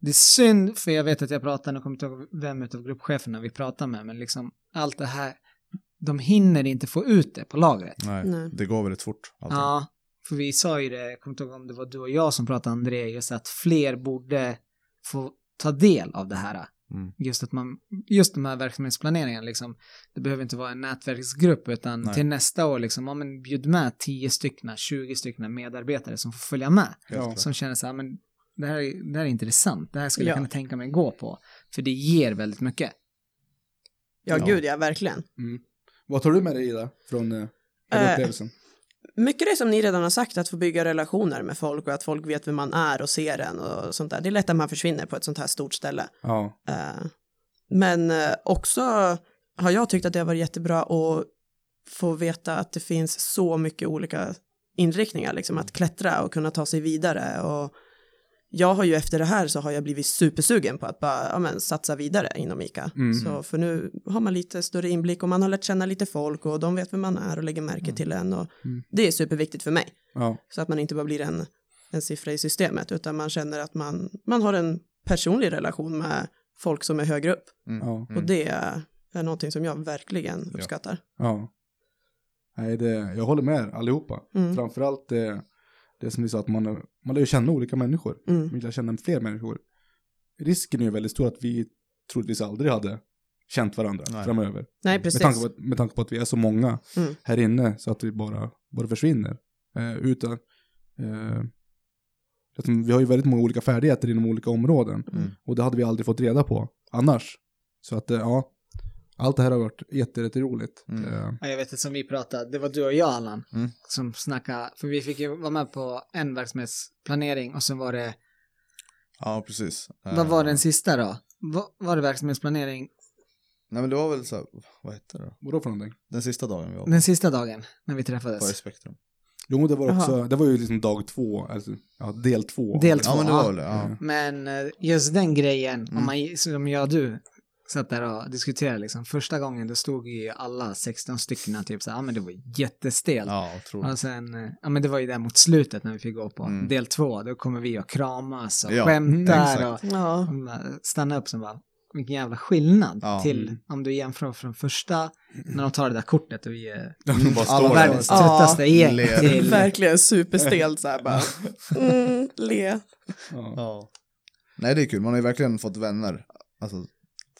Speaker 1: det är synd, för jag vet att jag pratade, nu kommer jag inte ihåg vem utav gruppcheferna vi pratade med, men liksom allt det här, de hinner inte få ut det på lagret.
Speaker 2: Nej,
Speaker 4: Nej.
Speaker 2: det går väldigt fort. allting.
Speaker 1: Ja, för vi sa ju det, jag kommer inte ihåg om det var du och jag som pratade André, just att fler borde få ta del av det här.
Speaker 2: Mm.
Speaker 1: Just att man, just de här verksamhetsplaneringen liksom, det behöver inte vara en nätverksgrupp utan
Speaker 2: Nej.
Speaker 1: till nästa år liksom, ja men bjud med 10 stycken, 20 stycken medarbetare som får följa med.
Speaker 2: Helt
Speaker 3: Ja.
Speaker 2: klart.
Speaker 1: Som känner så här, men det här, är- det här är intressant, det här skulle jag
Speaker 4: Ja.
Speaker 1: kunna tänka mig gå på. För det ger väldigt mycket.
Speaker 4: Ja,
Speaker 2: Ja.
Speaker 4: gud ja, verkligen.
Speaker 3: Vad tar du med dig Ida från eh, den
Speaker 4: Eh,
Speaker 3: upplevelsen?
Speaker 4: Mycket det som ni redan har sagt, att få bygga relationer med folk och att folk vet vem man är och ser en och sånt där. Det är lätt att man försvinner på ett sånt här stort ställe.
Speaker 3: Ja.
Speaker 4: Eh, Men eh, också har jag tyckt att det har varit jättebra att få veta att det finns så mycket olika inriktningar, liksom att klättra och kunna ta sig vidare. Och jag har ju efter det här så har jag blivit supersugen på att bara ja, men, satsa vidare inom ICA.
Speaker 3: Mm.
Speaker 4: Så för nu har man lite större inblick och man har lärt känna lite folk och de vet vem man är och lägger märke till en. Och
Speaker 3: Mm.
Speaker 4: Det är superviktigt för mig,
Speaker 3: ja.
Speaker 4: så att man inte bara blir en, en siffra i systemet, utan man känner att man, man har en personlig relation med folk som är högre upp.
Speaker 2: Mm.
Speaker 3: ja.
Speaker 2: Mm.
Speaker 4: Och det är någonting som jag verkligen
Speaker 2: Ja.
Speaker 4: uppskattar.
Speaker 3: Ja. Nej, det, jag håller med er allihopa.
Speaker 4: Mm.
Speaker 3: Framförallt det, det som vi sa, att man, man lär ju känna olika människor.
Speaker 4: Mm.
Speaker 3: Man lär känna fler människor. Risken är ju väldigt stor att vi troligtvis aldrig hade känt varandra
Speaker 2: Nej.
Speaker 3: framöver.
Speaker 4: Nej,
Speaker 3: Med
Speaker 4: precis.
Speaker 3: tanke, på att, med tanke på att vi är så många
Speaker 4: Mm.
Speaker 3: här inne så att vi bara, bara försvinner. Eh, utan, eh, att vi har ju väldigt många olika färdigheter inom olika områden.
Speaker 4: Mm.
Speaker 3: Och det hade vi aldrig fått reda på annars. Så att eh, ja, allt det här har varit jätte- jätteroligt.
Speaker 2: Mm.
Speaker 3: Eh,
Speaker 1: Ja, jag vet inte som vi pratade, det var du och jag Allan
Speaker 2: Mm.
Speaker 1: som snackade, för vi fick ju vara med på en verksamhetsplanering och sen var det,
Speaker 2: Ja, precis.
Speaker 1: vad
Speaker 2: Eh,
Speaker 1: var den sista då? Va, var det verksamhetsplanering
Speaker 2: Nej, men det var väl så här, vad hette det då?
Speaker 3: vadå för någonting?
Speaker 2: Den sista dagen vi var på-
Speaker 1: den sista dagen när vi
Speaker 2: på
Speaker 1: träffades?
Speaker 2: Spektrum.
Speaker 3: Jo, det var
Speaker 4: Jaha.
Speaker 3: också, det var ju liksom dag två, alltså, ja, del två.
Speaker 1: Del
Speaker 2: Ja, men det
Speaker 1: Tvåa.
Speaker 2: var väl det. Ja.
Speaker 1: Men eh, just den grejen, om
Speaker 2: Mm.
Speaker 1: man, som jag och du satt där och diskuterade liksom, första gången då stod ju alla 16 stycken typ så här, ja men det var jättestelt.
Speaker 2: Ja, otroligt.
Speaker 1: Och sen, eh, ja men det var ju där mot slutet när vi fick gå på
Speaker 2: Mm.
Speaker 1: del två, då kommer vi och kramas och
Speaker 2: Ja, Mm,
Speaker 1: skämtar
Speaker 2: exakt.
Speaker 1: och
Speaker 4: Ja,
Speaker 1: Hon bara stannar upp som bara, vilken jävla skillnad
Speaker 2: Ja.
Speaker 1: till
Speaker 3: Mm.
Speaker 1: om du jämför från första, när de tar det där kortet och vi är
Speaker 2: De Mm, bara
Speaker 1: alla
Speaker 2: står där.
Speaker 1: världens
Speaker 4: Ja.
Speaker 1: tröttaste gäng
Speaker 2: Ler.
Speaker 1: till,
Speaker 4: verkligen superstelt så här bara. Mm, le.
Speaker 3: Ja.
Speaker 2: Ja. Nej, det är kul. Man har ju verkligen fått vänner. Alltså,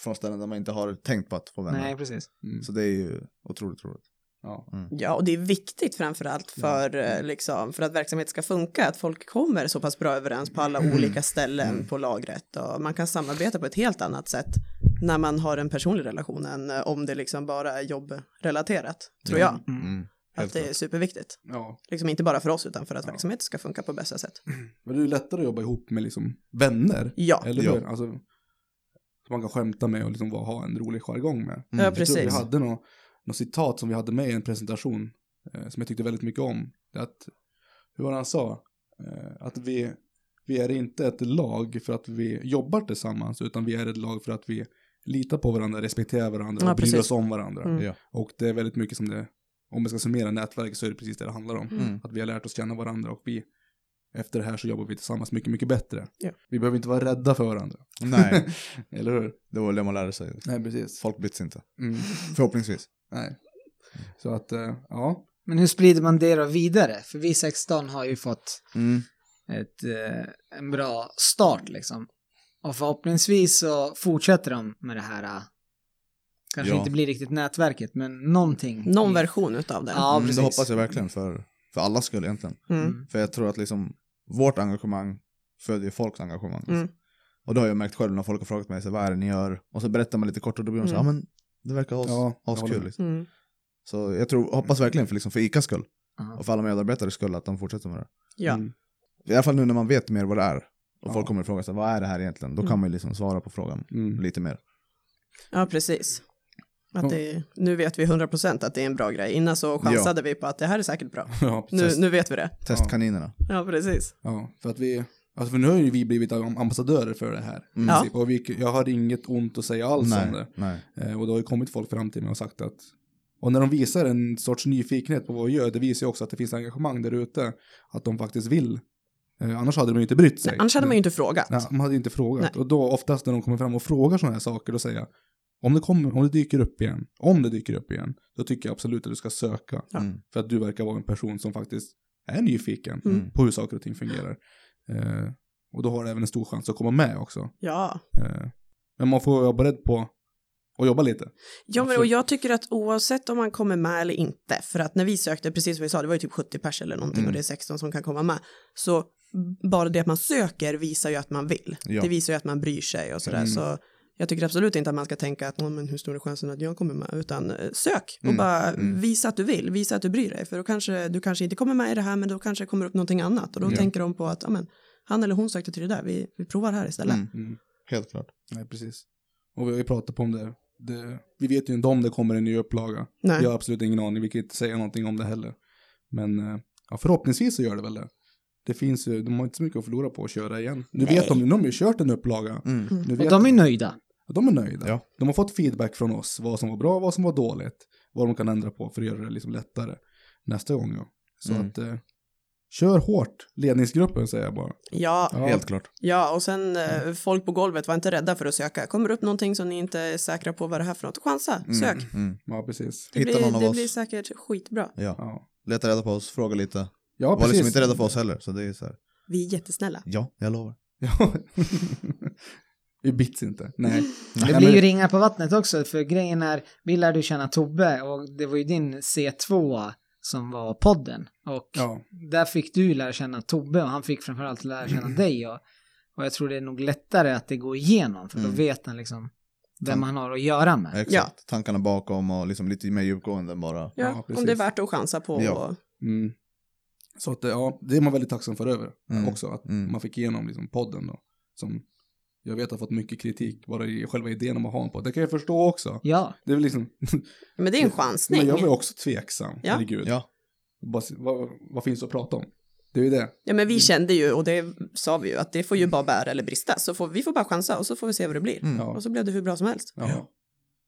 Speaker 2: från ställen där man inte har tänkt på att få vänner.
Speaker 1: nej precis.
Speaker 3: Mm.
Speaker 2: Så det är ju otroligt roligt.
Speaker 3: Ja.
Speaker 4: Ja, och det är viktigt framför allt för, eh, liksom, för att verksamhet ska funka, att folk kommer så pass bra överens på alla olika ställen på lagret och man kan samarbeta på ett helt annat sätt när man har en personlig relation än eh, om det liksom bara är jobbrelaterat, tror jag.
Speaker 2: Mm.
Speaker 4: Att det är superviktigt,
Speaker 3: ja.
Speaker 4: liksom inte bara för oss utan för att
Speaker 3: Ja.
Speaker 4: verksamheten ska funka på bästa sätt.
Speaker 3: Men det är ju lättare att jobba ihop med liksom vänner.
Speaker 4: Ja,
Speaker 3: Eller
Speaker 2: Ja.
Speaker 3: hur? Alltså, som man kan skämta med och liksom bara ha en rolig jargong med.
Speaker 4: ja
Speaker 2: Mm. Jag tror
Speaker 3: Jag tror vi
Speaker 4: precis.
Speaker 3: hade något, något citat som vi hade med i en presentation eh, som jag tyckte väldigt mycket om. Det är att, hur var det han sa? Eh, att vi, vi är inte ett lag för att vi jobbar tillsammans utan vi är ett lag för att vi litar på varandra, respekterar varandra
Speaker 4: Ja,
Speaker 3: och bryr
Speaker 4: precis.
Speaker 3: oss om varandra.
Speaker 4: Mm.
Speaker 2: Ja.
Speaker 3: Och det är väldigt mycket som det, om man ska summera nätverket så är det precis det det handlar om.
Speaker 2: Mm.
Speaker 3: Att vi har lärt oss känna varandra och vi, efter det här så jobbar vi tillsammans mycket, mycket bättre.
Speaker 4: Ja.
Speaker 3: Vi behöver inte vara rädda för varandra,
Speaker 2: Nej,
Speaker 3: eller hur?
Speaker 2: det var det man lärde sig.
Speaker 3: Nej, precis.
Speaker 2: Folk byts inte.
Speaker 3: Mm.
Speaker 2: Förhoppningsvis.
Speaker 3: Nej. Så att, eh, ja.
Speaker 1: Men hur sprider man det då vidare? För vi 16 har ju fått
Speaker 2: Mm.
Speaker 1: ett, eh, en bra start liksom. Och förhoppningsvis så fortsätter de med det här, eh, kanske
Speaker 2: Ja.
Speaker 1: inte blir riktigt nätverket, men någonting.
Speaker 4: Någon version utav det.
Speaker 1: Ja,
Speaker 2: Mm,
Speaker 1: precis.
Speaker 2: det hoppas jag verkligen för, för alla skull egentligen.
Speaker 4: Mm.
Speaker 2: För jag tror att liksom vårt engagemang följer folks engagemang. liksom.
Speaker 4: Mm.
Speaker 2: Och det har jag märkt själv när folk har frågat mig så, här, vad är det ni gör? Och så berättar man lite kort och då blir de så här,
Speaker 4: Mm.
Speaker 2: ja men det verkar as,
Speaker 3: Ja, jag håller
Speaker 2: askul.
Speaker 3: med.
Speaker 2: Liksom.
Speaker 4: Mm.
Speaker 2: Så jag tror, hoppas verkligen för, liksom, för ICAs skull
Speaker 1: Ja.
Speaker 2: och för alla medarbetares skull att de fortsätter med det.
Speaker 4: Ja.
Speaker 3: Mm.
Speaker 2: I alla fall nu när man vet mer vad det är och
Speaker 3: Ja.
Speaker 2: folk kommer att fråga sig vad är det här egentligen? Då
Speaker 4: Mm.
Speaker 2: kan man ju liksom svara på frågan
Speaker 3: Mm.
Speaker 2: lite mer.
Speaker 4: ja, precis. Att det, nu vet vi 100% att det är en bra grej. Innan så chansade vi på att det här är säkert bra.
Speaker 3: Ja,
Speaker 4: Nu,
Speaker 3: precis.
Speaker 4: nu vet vi det.
Speaker 2: Testkaninerna.
Speaker 4: Ja, precis.
Speaker 3: Ja, för att vi, alltså för nu har ju vi blivit am- ambassadörer för det här. i
Speaker 4: Ja.
Speaker 3: princip. Och vi, jag har inget ont att säga alls Alltså, om
Speaker 2: Nej,
Speaker 3: det.
Speaker 2: nej.
Speaker 3: Eh, Och det har ju kommit folk fram till mig och sagt att, och när de visar en sorts nyfikenhet på vad vi gör, det visar ju också att det finns engagemang där ute, att de faktiskt vill. Eh, Annars hade de ju inte brytt sig.
Speaker 4: Annars hade man ju inte frågat.
Speaker 3: Nej, man hade ju inte frågat. Och då oftast när de kommer fram och frågar sådana här saker, då säger jag, om det, kommer, om det dyker upp igen, om det dyker upp igen, då tycker jag absolut att du ska söka.
Speaker 4: Ja.
Speaker 2: Mm.
Speaker 3: För att du verkar vara en person som faktiskt är nyfiken
Speaker 4: Mm.
Speaker 3: på hur saker och ting fungerar. Eh, och då har du även en stor chans att komma med också.
Speaker 4: Ja.
Speaker 3: Eh, men man får vara beredd på att jobba lite.
Speaker 4: Ja, men,
Speaker 3: Absolut.
Speaker 4: och jag tycker att oavsett om man kommer med eller inte, för att när vi sökte, precis som vi sa, det var ju typ 70 pers eller någonting
Speaker 2: Mm.
Speaker 4: och det är 16 som kan komma med, så bara det att man söker visar ju att man vill.
Speaker 2: Ja.
Speaker 4: Det visar ju att man bryr sig och sådär,
Speaker 3: Mm.
Speaker 4: så jag tycker absolut inte att man ska tänka att, "Åh, men hur stor är chansen att jag kommer med, utan eh, sök och
Speaker 2: Mm.
Speaker 4: bara
Speaker 2: Mm.
Speaker 4: visa att du vill, visa att du bryr dig, för då kanske du kanske inte kommer med i det här, men då kanske det kommer upp någonting annat och då
Speaker 3: Ja.
Speaker 4: tänker de på att, ja men, han eller hon sökte till det där, vi, vi provar här istället.
Speaker 2: Mm.
Speaker 3: Mm.
Speaker 2: Helt klart.
Speaker 3: Nej, precis. Och vi har ju pratat på om det. det. Vi vet ju inte om det kommer en ny upplaga.
Speaker 4: Nej.
Speaker 3: Jag har absolut ingen aning, vi kan inte säga någonting om det heller. Men eh, ja, förhoppningsvis så gör det väl det. Det finns ju, de har inte så mycket att förlora på att köra igen. Du
Speaker 4: Nej.
Speaker 3: vet om de har ju kört en upplaga.
Speaker 2: Mm.
Speaker 4: Mm.
Speaker 3: Nu
Speaker 1: Och
Speaker 3: vet
Speaker 1: de är nöjda.
Speaker 3: de är nöjda.
Speaker 2: Ja.
Speaker 3: De har fått feedback från oss, vad som var bra, vad som var dåligt, vad de kan ändra på för att göra det liksom lättare nästa gång. Ja. Så
Speaker 2: Mm.
Speaker 3: att, eh, kör hårt, ledningsgruppen säger jag bara.
Speaker 4: Ja,
Speaker 3: Ja.
Speaker 2: Helt klart.
Speaker 4: Ja, och sen eh,
Speaker 2: Mm.
Speaker 4: folk på golvet var inte rädda för att söka. Kommer det upp någonting som ni inte är säkra på vad det här för något, chansa,
Speaker 2: Mm.
Speaker 4: sök.
Speaker 2: Mm.
Speaker 3: Ja, precis.
Speaker 4: Det,
Speaker 2: Hitta
Speaker 4: blir,
Speaker 2: någon av
Speaker 4: det
Speaker 2: oss.
Speaker 4: blir säkert skitbra.
Speaker 2: Ja.
Speaker 3: Ja,
Speaker 2: Leta reda på oss, fråga lite.
Speaker 3: ja
Speaker 2: Var liksom inte rädda för oss heller. Så det är så här.
Speaker 4: Vi är jättesnälla.
Speaker 2: Ja, jag lovar.
Speaker 3: Ja. Vi bits inte. Nej.
Speaker 2: Mm.
Speaker 1: Det
Speaker 3: Nej,
Speaker 1: blir
Speaker 3: men-
Speaker 1: ju ringar på vattnet också, för grejen är, vi lärde ju känna Tobbe och det var ju din C2 som var podden. Och
Speaker 3: Ja,
Speaker 1: där fick du lära känna Tobbe och han fick framförallt lära känna dig. Och, och jag tror det är nog lättare att det går igenom, för då
Speaker 2: Mm.
Speaker 1: vet han liksom vem
Speaker 2: Mm.
Speaker 1: han har att göra med.
Speaker 2: Exakt. Tankarna bakom och liksom lite mer djupgående än bara.
Speaker 3: Ja,
Speaker 4: Ja, om
Speaker 3: precis.
Speaker 4: det är värt att chansa på.
Speaker 2: Ja.
Speaker 4: Och,
Speaker 3: mm. Så att, eh, ja, det är man väldigt tacksam för över
Speaker 2: Mm.
Speaker 3: också. Att
Speaker 2: Mm.
Speaker 3: man fick igenom liksom, podden då. Som jag vet har fått mycket kritik bara i själva idén om att ha en podd. Det kan jag förstå också.
Speaker 1: Ja,
Speaker 3: Det är väl liksom,
Speaker 4: men det är en chansning.
Speaker 3: men jag var ju också tveksam.
Speaker 4: Ja.
Speaker 3: Herregud.
Speaker 2: Ja,
Speaker 3: Bara se- vad, vad finns att prata om? Det är ju det.
Speaker 4: Ja,
Speaker 2: Mm.
Speaker 4: men vi kände ju, och det sa vi ju, att det får ju bara bära eller brista. Så får, vi får bara chansa och så får vi se vad det blir.
Speaker 2: Mm.
Speaker 3: Ja.
Speaker 4: Och så blev det hur bra som helst.
Speaker 3: Ja.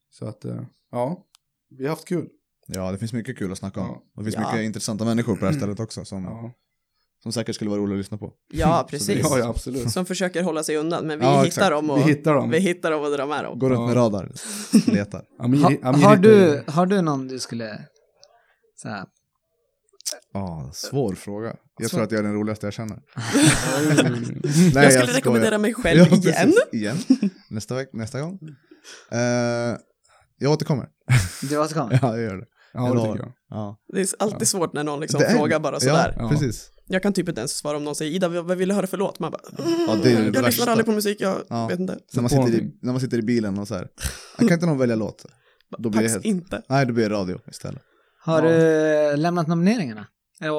Speaker 3: Så att, eh, ja. Vi har haft kul.
Speaker 2: ja, det finns mycket kul att snacka om.
Speaker 3: Ja.
Speaker 2: Och det finns
Speaker 4: Ja. Mm.
Speaker 2: mycket intressanta människor på det här stället också som,
Speaker 3: Ja,
Speaker 2: som säkert skulle vara roliga att lyssna på.
Speaker 4: Ja,
Speaker 2: det
Speaker 4: precis.
Speaker 2: är-
Speaker 3: ja, ja absolut.
Speaker 4: Som försöker hålla sig undan, men vi
Speaker 2: Ja,
Speaker 4: hittar
Speaker 2: exakt.
Speaker 4: dem och
Speaker 3: Vi hittar dem.
Speaker 4: vi hittar dem och drar med dem.
Speaker 2: Går runt
Speaker 3: Ja.
Speaker 2: med radar, letar.
Speaker 3: Amir,
Speaker 1: Ha,
Speaker 3: Amir
Speaker 1: har,
Speaker 3: hittar
Speaker 1: du,
Speaker 3: ju-
Speaker 1: har du någon du skulle... Så här,
Speaker 2: Ja, svår fråga. Jag
Speaker 1: Svår.
Speaker 2: tror att jag är den roligaste jag känner. Nej,
Speaker 4: Jag skulle
Speaker 2: skojar.
Speaker 4: rekommendera mig själv
Speaker 2: Ja,
Speaker 4: igen.
Speaker 2: precis. igen. Nästa, veck, nästa gång. Eh, jag återkommer.
Speaker 1: du återkommer?
Speaker 2: Ja, jag gör det.
Speaker 3: Ja, det tycker jag.
Speaker 2: Ja,
Speaker 4: Det är alltid svårt när någon liksom
Speaker 2: Det är-
Speaker 4: frågar bara sådär.
Speaker 2: ja,
Speaker 3: Ja.
Speaker 2: precis.
Speaker 4: Jag kan typ inte ens svara om någon säger Ida, vad vad vill du höra för låt? Man bara,
Speaker 2: Ja, det är det
Speaker 4: jag lyssnar
Speaker 2: värsta.
Speaker 4: aldrig på musik, jag
Speaker 2: Ja.
Speaker 4: vet inte.
Speaker 2: När man,
Speaker 3: på
Speaker 2: sitter i,
Speaker 3: någonting.
Speaker 2: när man sitter i bilen och så här. "Ah, Kan inte någon välja låt? Då blir det
Speaker 4: Faktiskt
Speaker 2: helt-
Speaker 4: inte.
Speaker 2: Nej, det blir radio istället.
Speaker 1: Har
Speaker 3: Ja.
Speaker 1: du lämnat nomineringarna?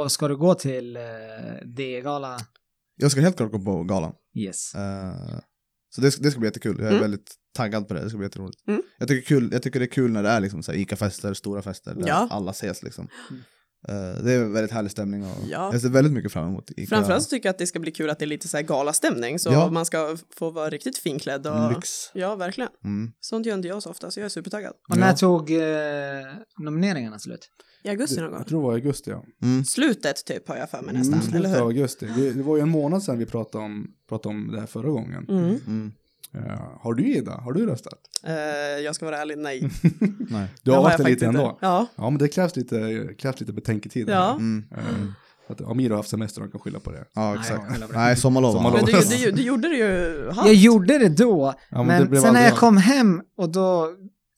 Speaker 1: Och ska du gå till eh, D-gala?
Speaker 2: Jag ska helt klart gå på galan.
Speaker 1: Yes.
Speaker 2: Eh, så det, det ska bli jättekul. Jag är
Speaker 4: Mm.
Speaker 2: väldigt taggad på det. Det ska bli jätteroligt.
Speaker 4: Mm.
Speaker 2: Jag, tycker kul, jag tycker det är kul när det är liksom så här ICA-fester, stora fester, där
Speaker 4: Ja.
Speaker 2: alla ses liksom.
Speaker 3: Mm.
Speaker 2: Eh, det är en väldigt härlig stämning och
Speaker 4: Ja.
Speaker 2: jag ser väldigt mycket fram emot ICA.
Speaker 4: Framförallt så tycker jag att det ska bli kul att det är lite så här galastämning, så
Speaker 2: Ja.
Speaker 4: man ska få vara riktigt finklädd. Och...
Speaker 2: Lyx.
Speaker 4: Ja, verkligen.
Speaker 2: Mm.
Speaker 4: Sånt gör inte jag så ofta, så jag är supertaggad.
Speaker 1: Och när
Speaker 3: Ja.
Speaker 1: tog eh, nomineringarna slut?
Speaker 4: I augusti någon gång.
Speaker 3: Jag tror det var i augusti, ja.
Speaker 2: Mm.
Speaker 4: Slutet typ har jag för mig
Speaker 3: Mm,
Speaker 4: nästan,
Speaker 3: slutet
Speaker 4: eller
Speaker 3: av
Speaker 4: hur?
Speaker 3: augusti. Det, det var ju en månad sedan vi pratade om, pratade om det här förra gången.
Speaker 4: Mm.
Speaker 2: Mm.
Speaker 3: Eh, har du Ida, har du röstat?
Speaker 4: Eh, jag ska vara ärlig, nej.
Speaker 2: Nej.
Speaker 3: Du
Speaker 4: Det
Speaker 3: har varit
Speaker 4: har jag
Speaker 3: det lite
Speaker 4: faktiskt
Speaker 3: ändå.
Speaker 4: inte. Ja,
Speaker 3: Ja, men det krävs lite, krävs lite betänketid.
Speaker 4: Ja.
Speaker 2: Mm.
Speaker 3: här. Eh, att Amir har haft semester och kan skylla på det.
Speaker 2: Ja,
Speaker 1: jag kollar
Speaker 2: exakt.
Speaker 1: på det.
Speaker 2: Nej, sommarlov.
Speaker 3: Sommarlov.
Speaker 4: men
Speaker 2: Sommarlov.
Speaker 4: du, du, du gjorde det ju
Speaker 1: Jag
Speaker 4: halvt.
Speaker 1: gjorde det då,
Speaker 3: Ja, men det
Speaker 1: men
Speaker 3: blev
Speaker 1: sen när
Speaker 3: aldrig
Speaker 1: jag
Speaker 3: av.
Speaker 1: kom hem och då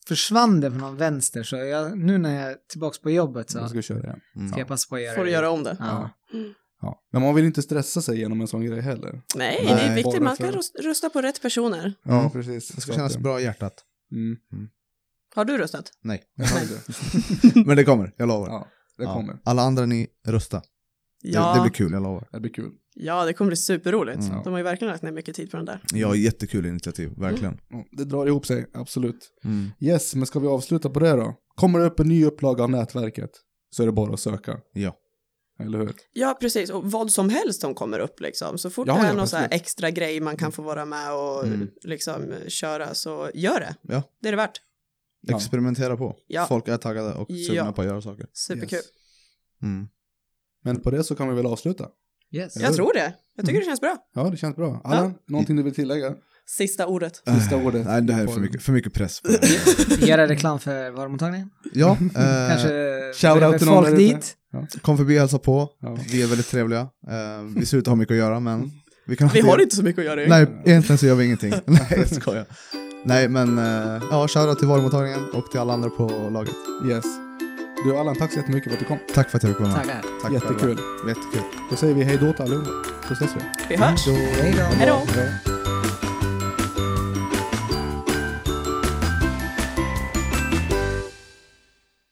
Speaker 1: försvann det på någon vänster så jag, nu när jag är tillbaka på jobbet så
Speaker 3: Så. Jag
Speaker 1: ska
Speaker 3: ska köra igen.
Speaker 2: Mm.
Speaker 1: jag passa på att göra
Speaker 4: Får du
Speaker 1: det.
Speaker 4: göra om det?
Speaker 1: Ja.
Speaker 3: Ja. Men man vill inte stressa sig genom en sån grej heller.
Speaker 4: Nej, det
Speaker 2: Nej.
Speaker 4: är viktigt.
Speaker 3: Bara
Speaker 4: Man ska
Speaker 3: för-
Speaker 4: röst- rösta på rätt personer.
Speaker 2: Ja,
Speaker 3: precis.
Speaker 2: Det ska kännas bra i hjärtat.
Speaker 3: Mm.
Speaker 4: Har du röstat?
Speaker 2: Nej.
Speaker 3: Jag hörde det.
Speaker 2: Men det kommer, jag lovar.
Speaker 3: Ja, det
Speaker 2: Ja.
Speaker 3: kommer.
Speaker 2: Alla andra ni, rösta.
Speaker 4: Ja,
Speaker 2: Det, det blir kul, jag lovar.
Speaker 3: Det blir kul.
Speaker 4: ja, det kommer bli superroligt.
Speaker 2: Mm.
Speaker 4: De har ju verkligen lagt ner mycket tid på den där.
Speaker 2: Ja, jättekul initiativ,
Speaker 4: Mm.
Speaker 2: verkligen.
Speaker 3: Ja, Det drar ihop sig, absolut.
Speaker 2: Mm.
Speaker 3: Yes, men ska vi avsluta på det då? Kommer det upp en ny upplaga av nätverket så är det bara att söka.
Speaker 2: Ja.
Speaker 3: Eller hur?
Speaker 4: Ja, precis. Och vad som helst som kommer upp liksom. Så fort
Speaker 3: Ja,
Speaker 4: det är
Speaker 3: ja,
Speaker 4: någon så här
Speaker 3: absolut. Mm.
Speaker 4: extra grej man kan få vara med och
Speaker 2: Mm.
Speaker 4: liksom eh, köra så gör det.
Speaker 2: Ja.
Speaker 4: Det är det värt.
Speaker 3: Ja.
Speaker 2: Experimentera på.
Speaker 4: Ja.
Speaker 2: Folk är taggade och sugna
Speaker 4: Ja.
Speaker 2: på att göra saker.
Speaker 4: Superkul.
Speaker 3: Yes.
Speaker 2: Mm.
Speaker 3: Men på det så kan vi väl avsluta.
Speaker 1: Yes.
Speaker 4: Jag tror det. Jag
Speaker 3: Mm.
Speaker 4: tycker det känns bra.
Speaker 3: Ja, det känns bra. Allan, någonting du vill tillägga?
Speaker 4: Sista ordet.
Speaker 3: Sista
Speaker 2: Äh,
Speaker 3: ordet
Speaker 2: Nej, det här är
Speaker 3: på-
Speaker 2: för mycket, för mycket press på det här.
Speaker 1: Göra reklam för varmmottagningen.
Speaker 2: Ja, eh,
Speaker 1: Kanske
Speaker 3: shout out
Speaker 1: behöver
Speaker 3: till någon
Speaker 1: folk
Speaker 3: där ute.
Speaker 1: dit.
Speaker 2: kom förbi och hälsa på.
Speaker 3: Ja.
Speaker 2: Vi är väldigt trevliga. Eh, vi ser ut att ha mycket att göra, men vi kan
Speaker 4: Vi
Speaker 2: alltid-
Speaker 4: har inte så mycket att göra. egentligen.
Speaker 2: Nej, egentligen så gör vi ingenting. Nej, jag skojar. Nej, men eh, ja, shoutout till varumottagningen och till alla andra på laget.
Speaker 3: Yes. Du Allan, tack så jättemycket för att du kom.
Speaker 2: Tack för att jag fick vara med.
Speaker 1: Tackar.
Speaker 2: Tack
Speaker 3: Jättekul.
Speaker 2: själva. Jättekul.
Speaker 3: Då säger vi hej då till allihopa. Så ses vi.
Speaker 4: Vi hörs.
Speaker 1: Hej då.
Speaker 4: Hej då.
Speaker 3: Bra.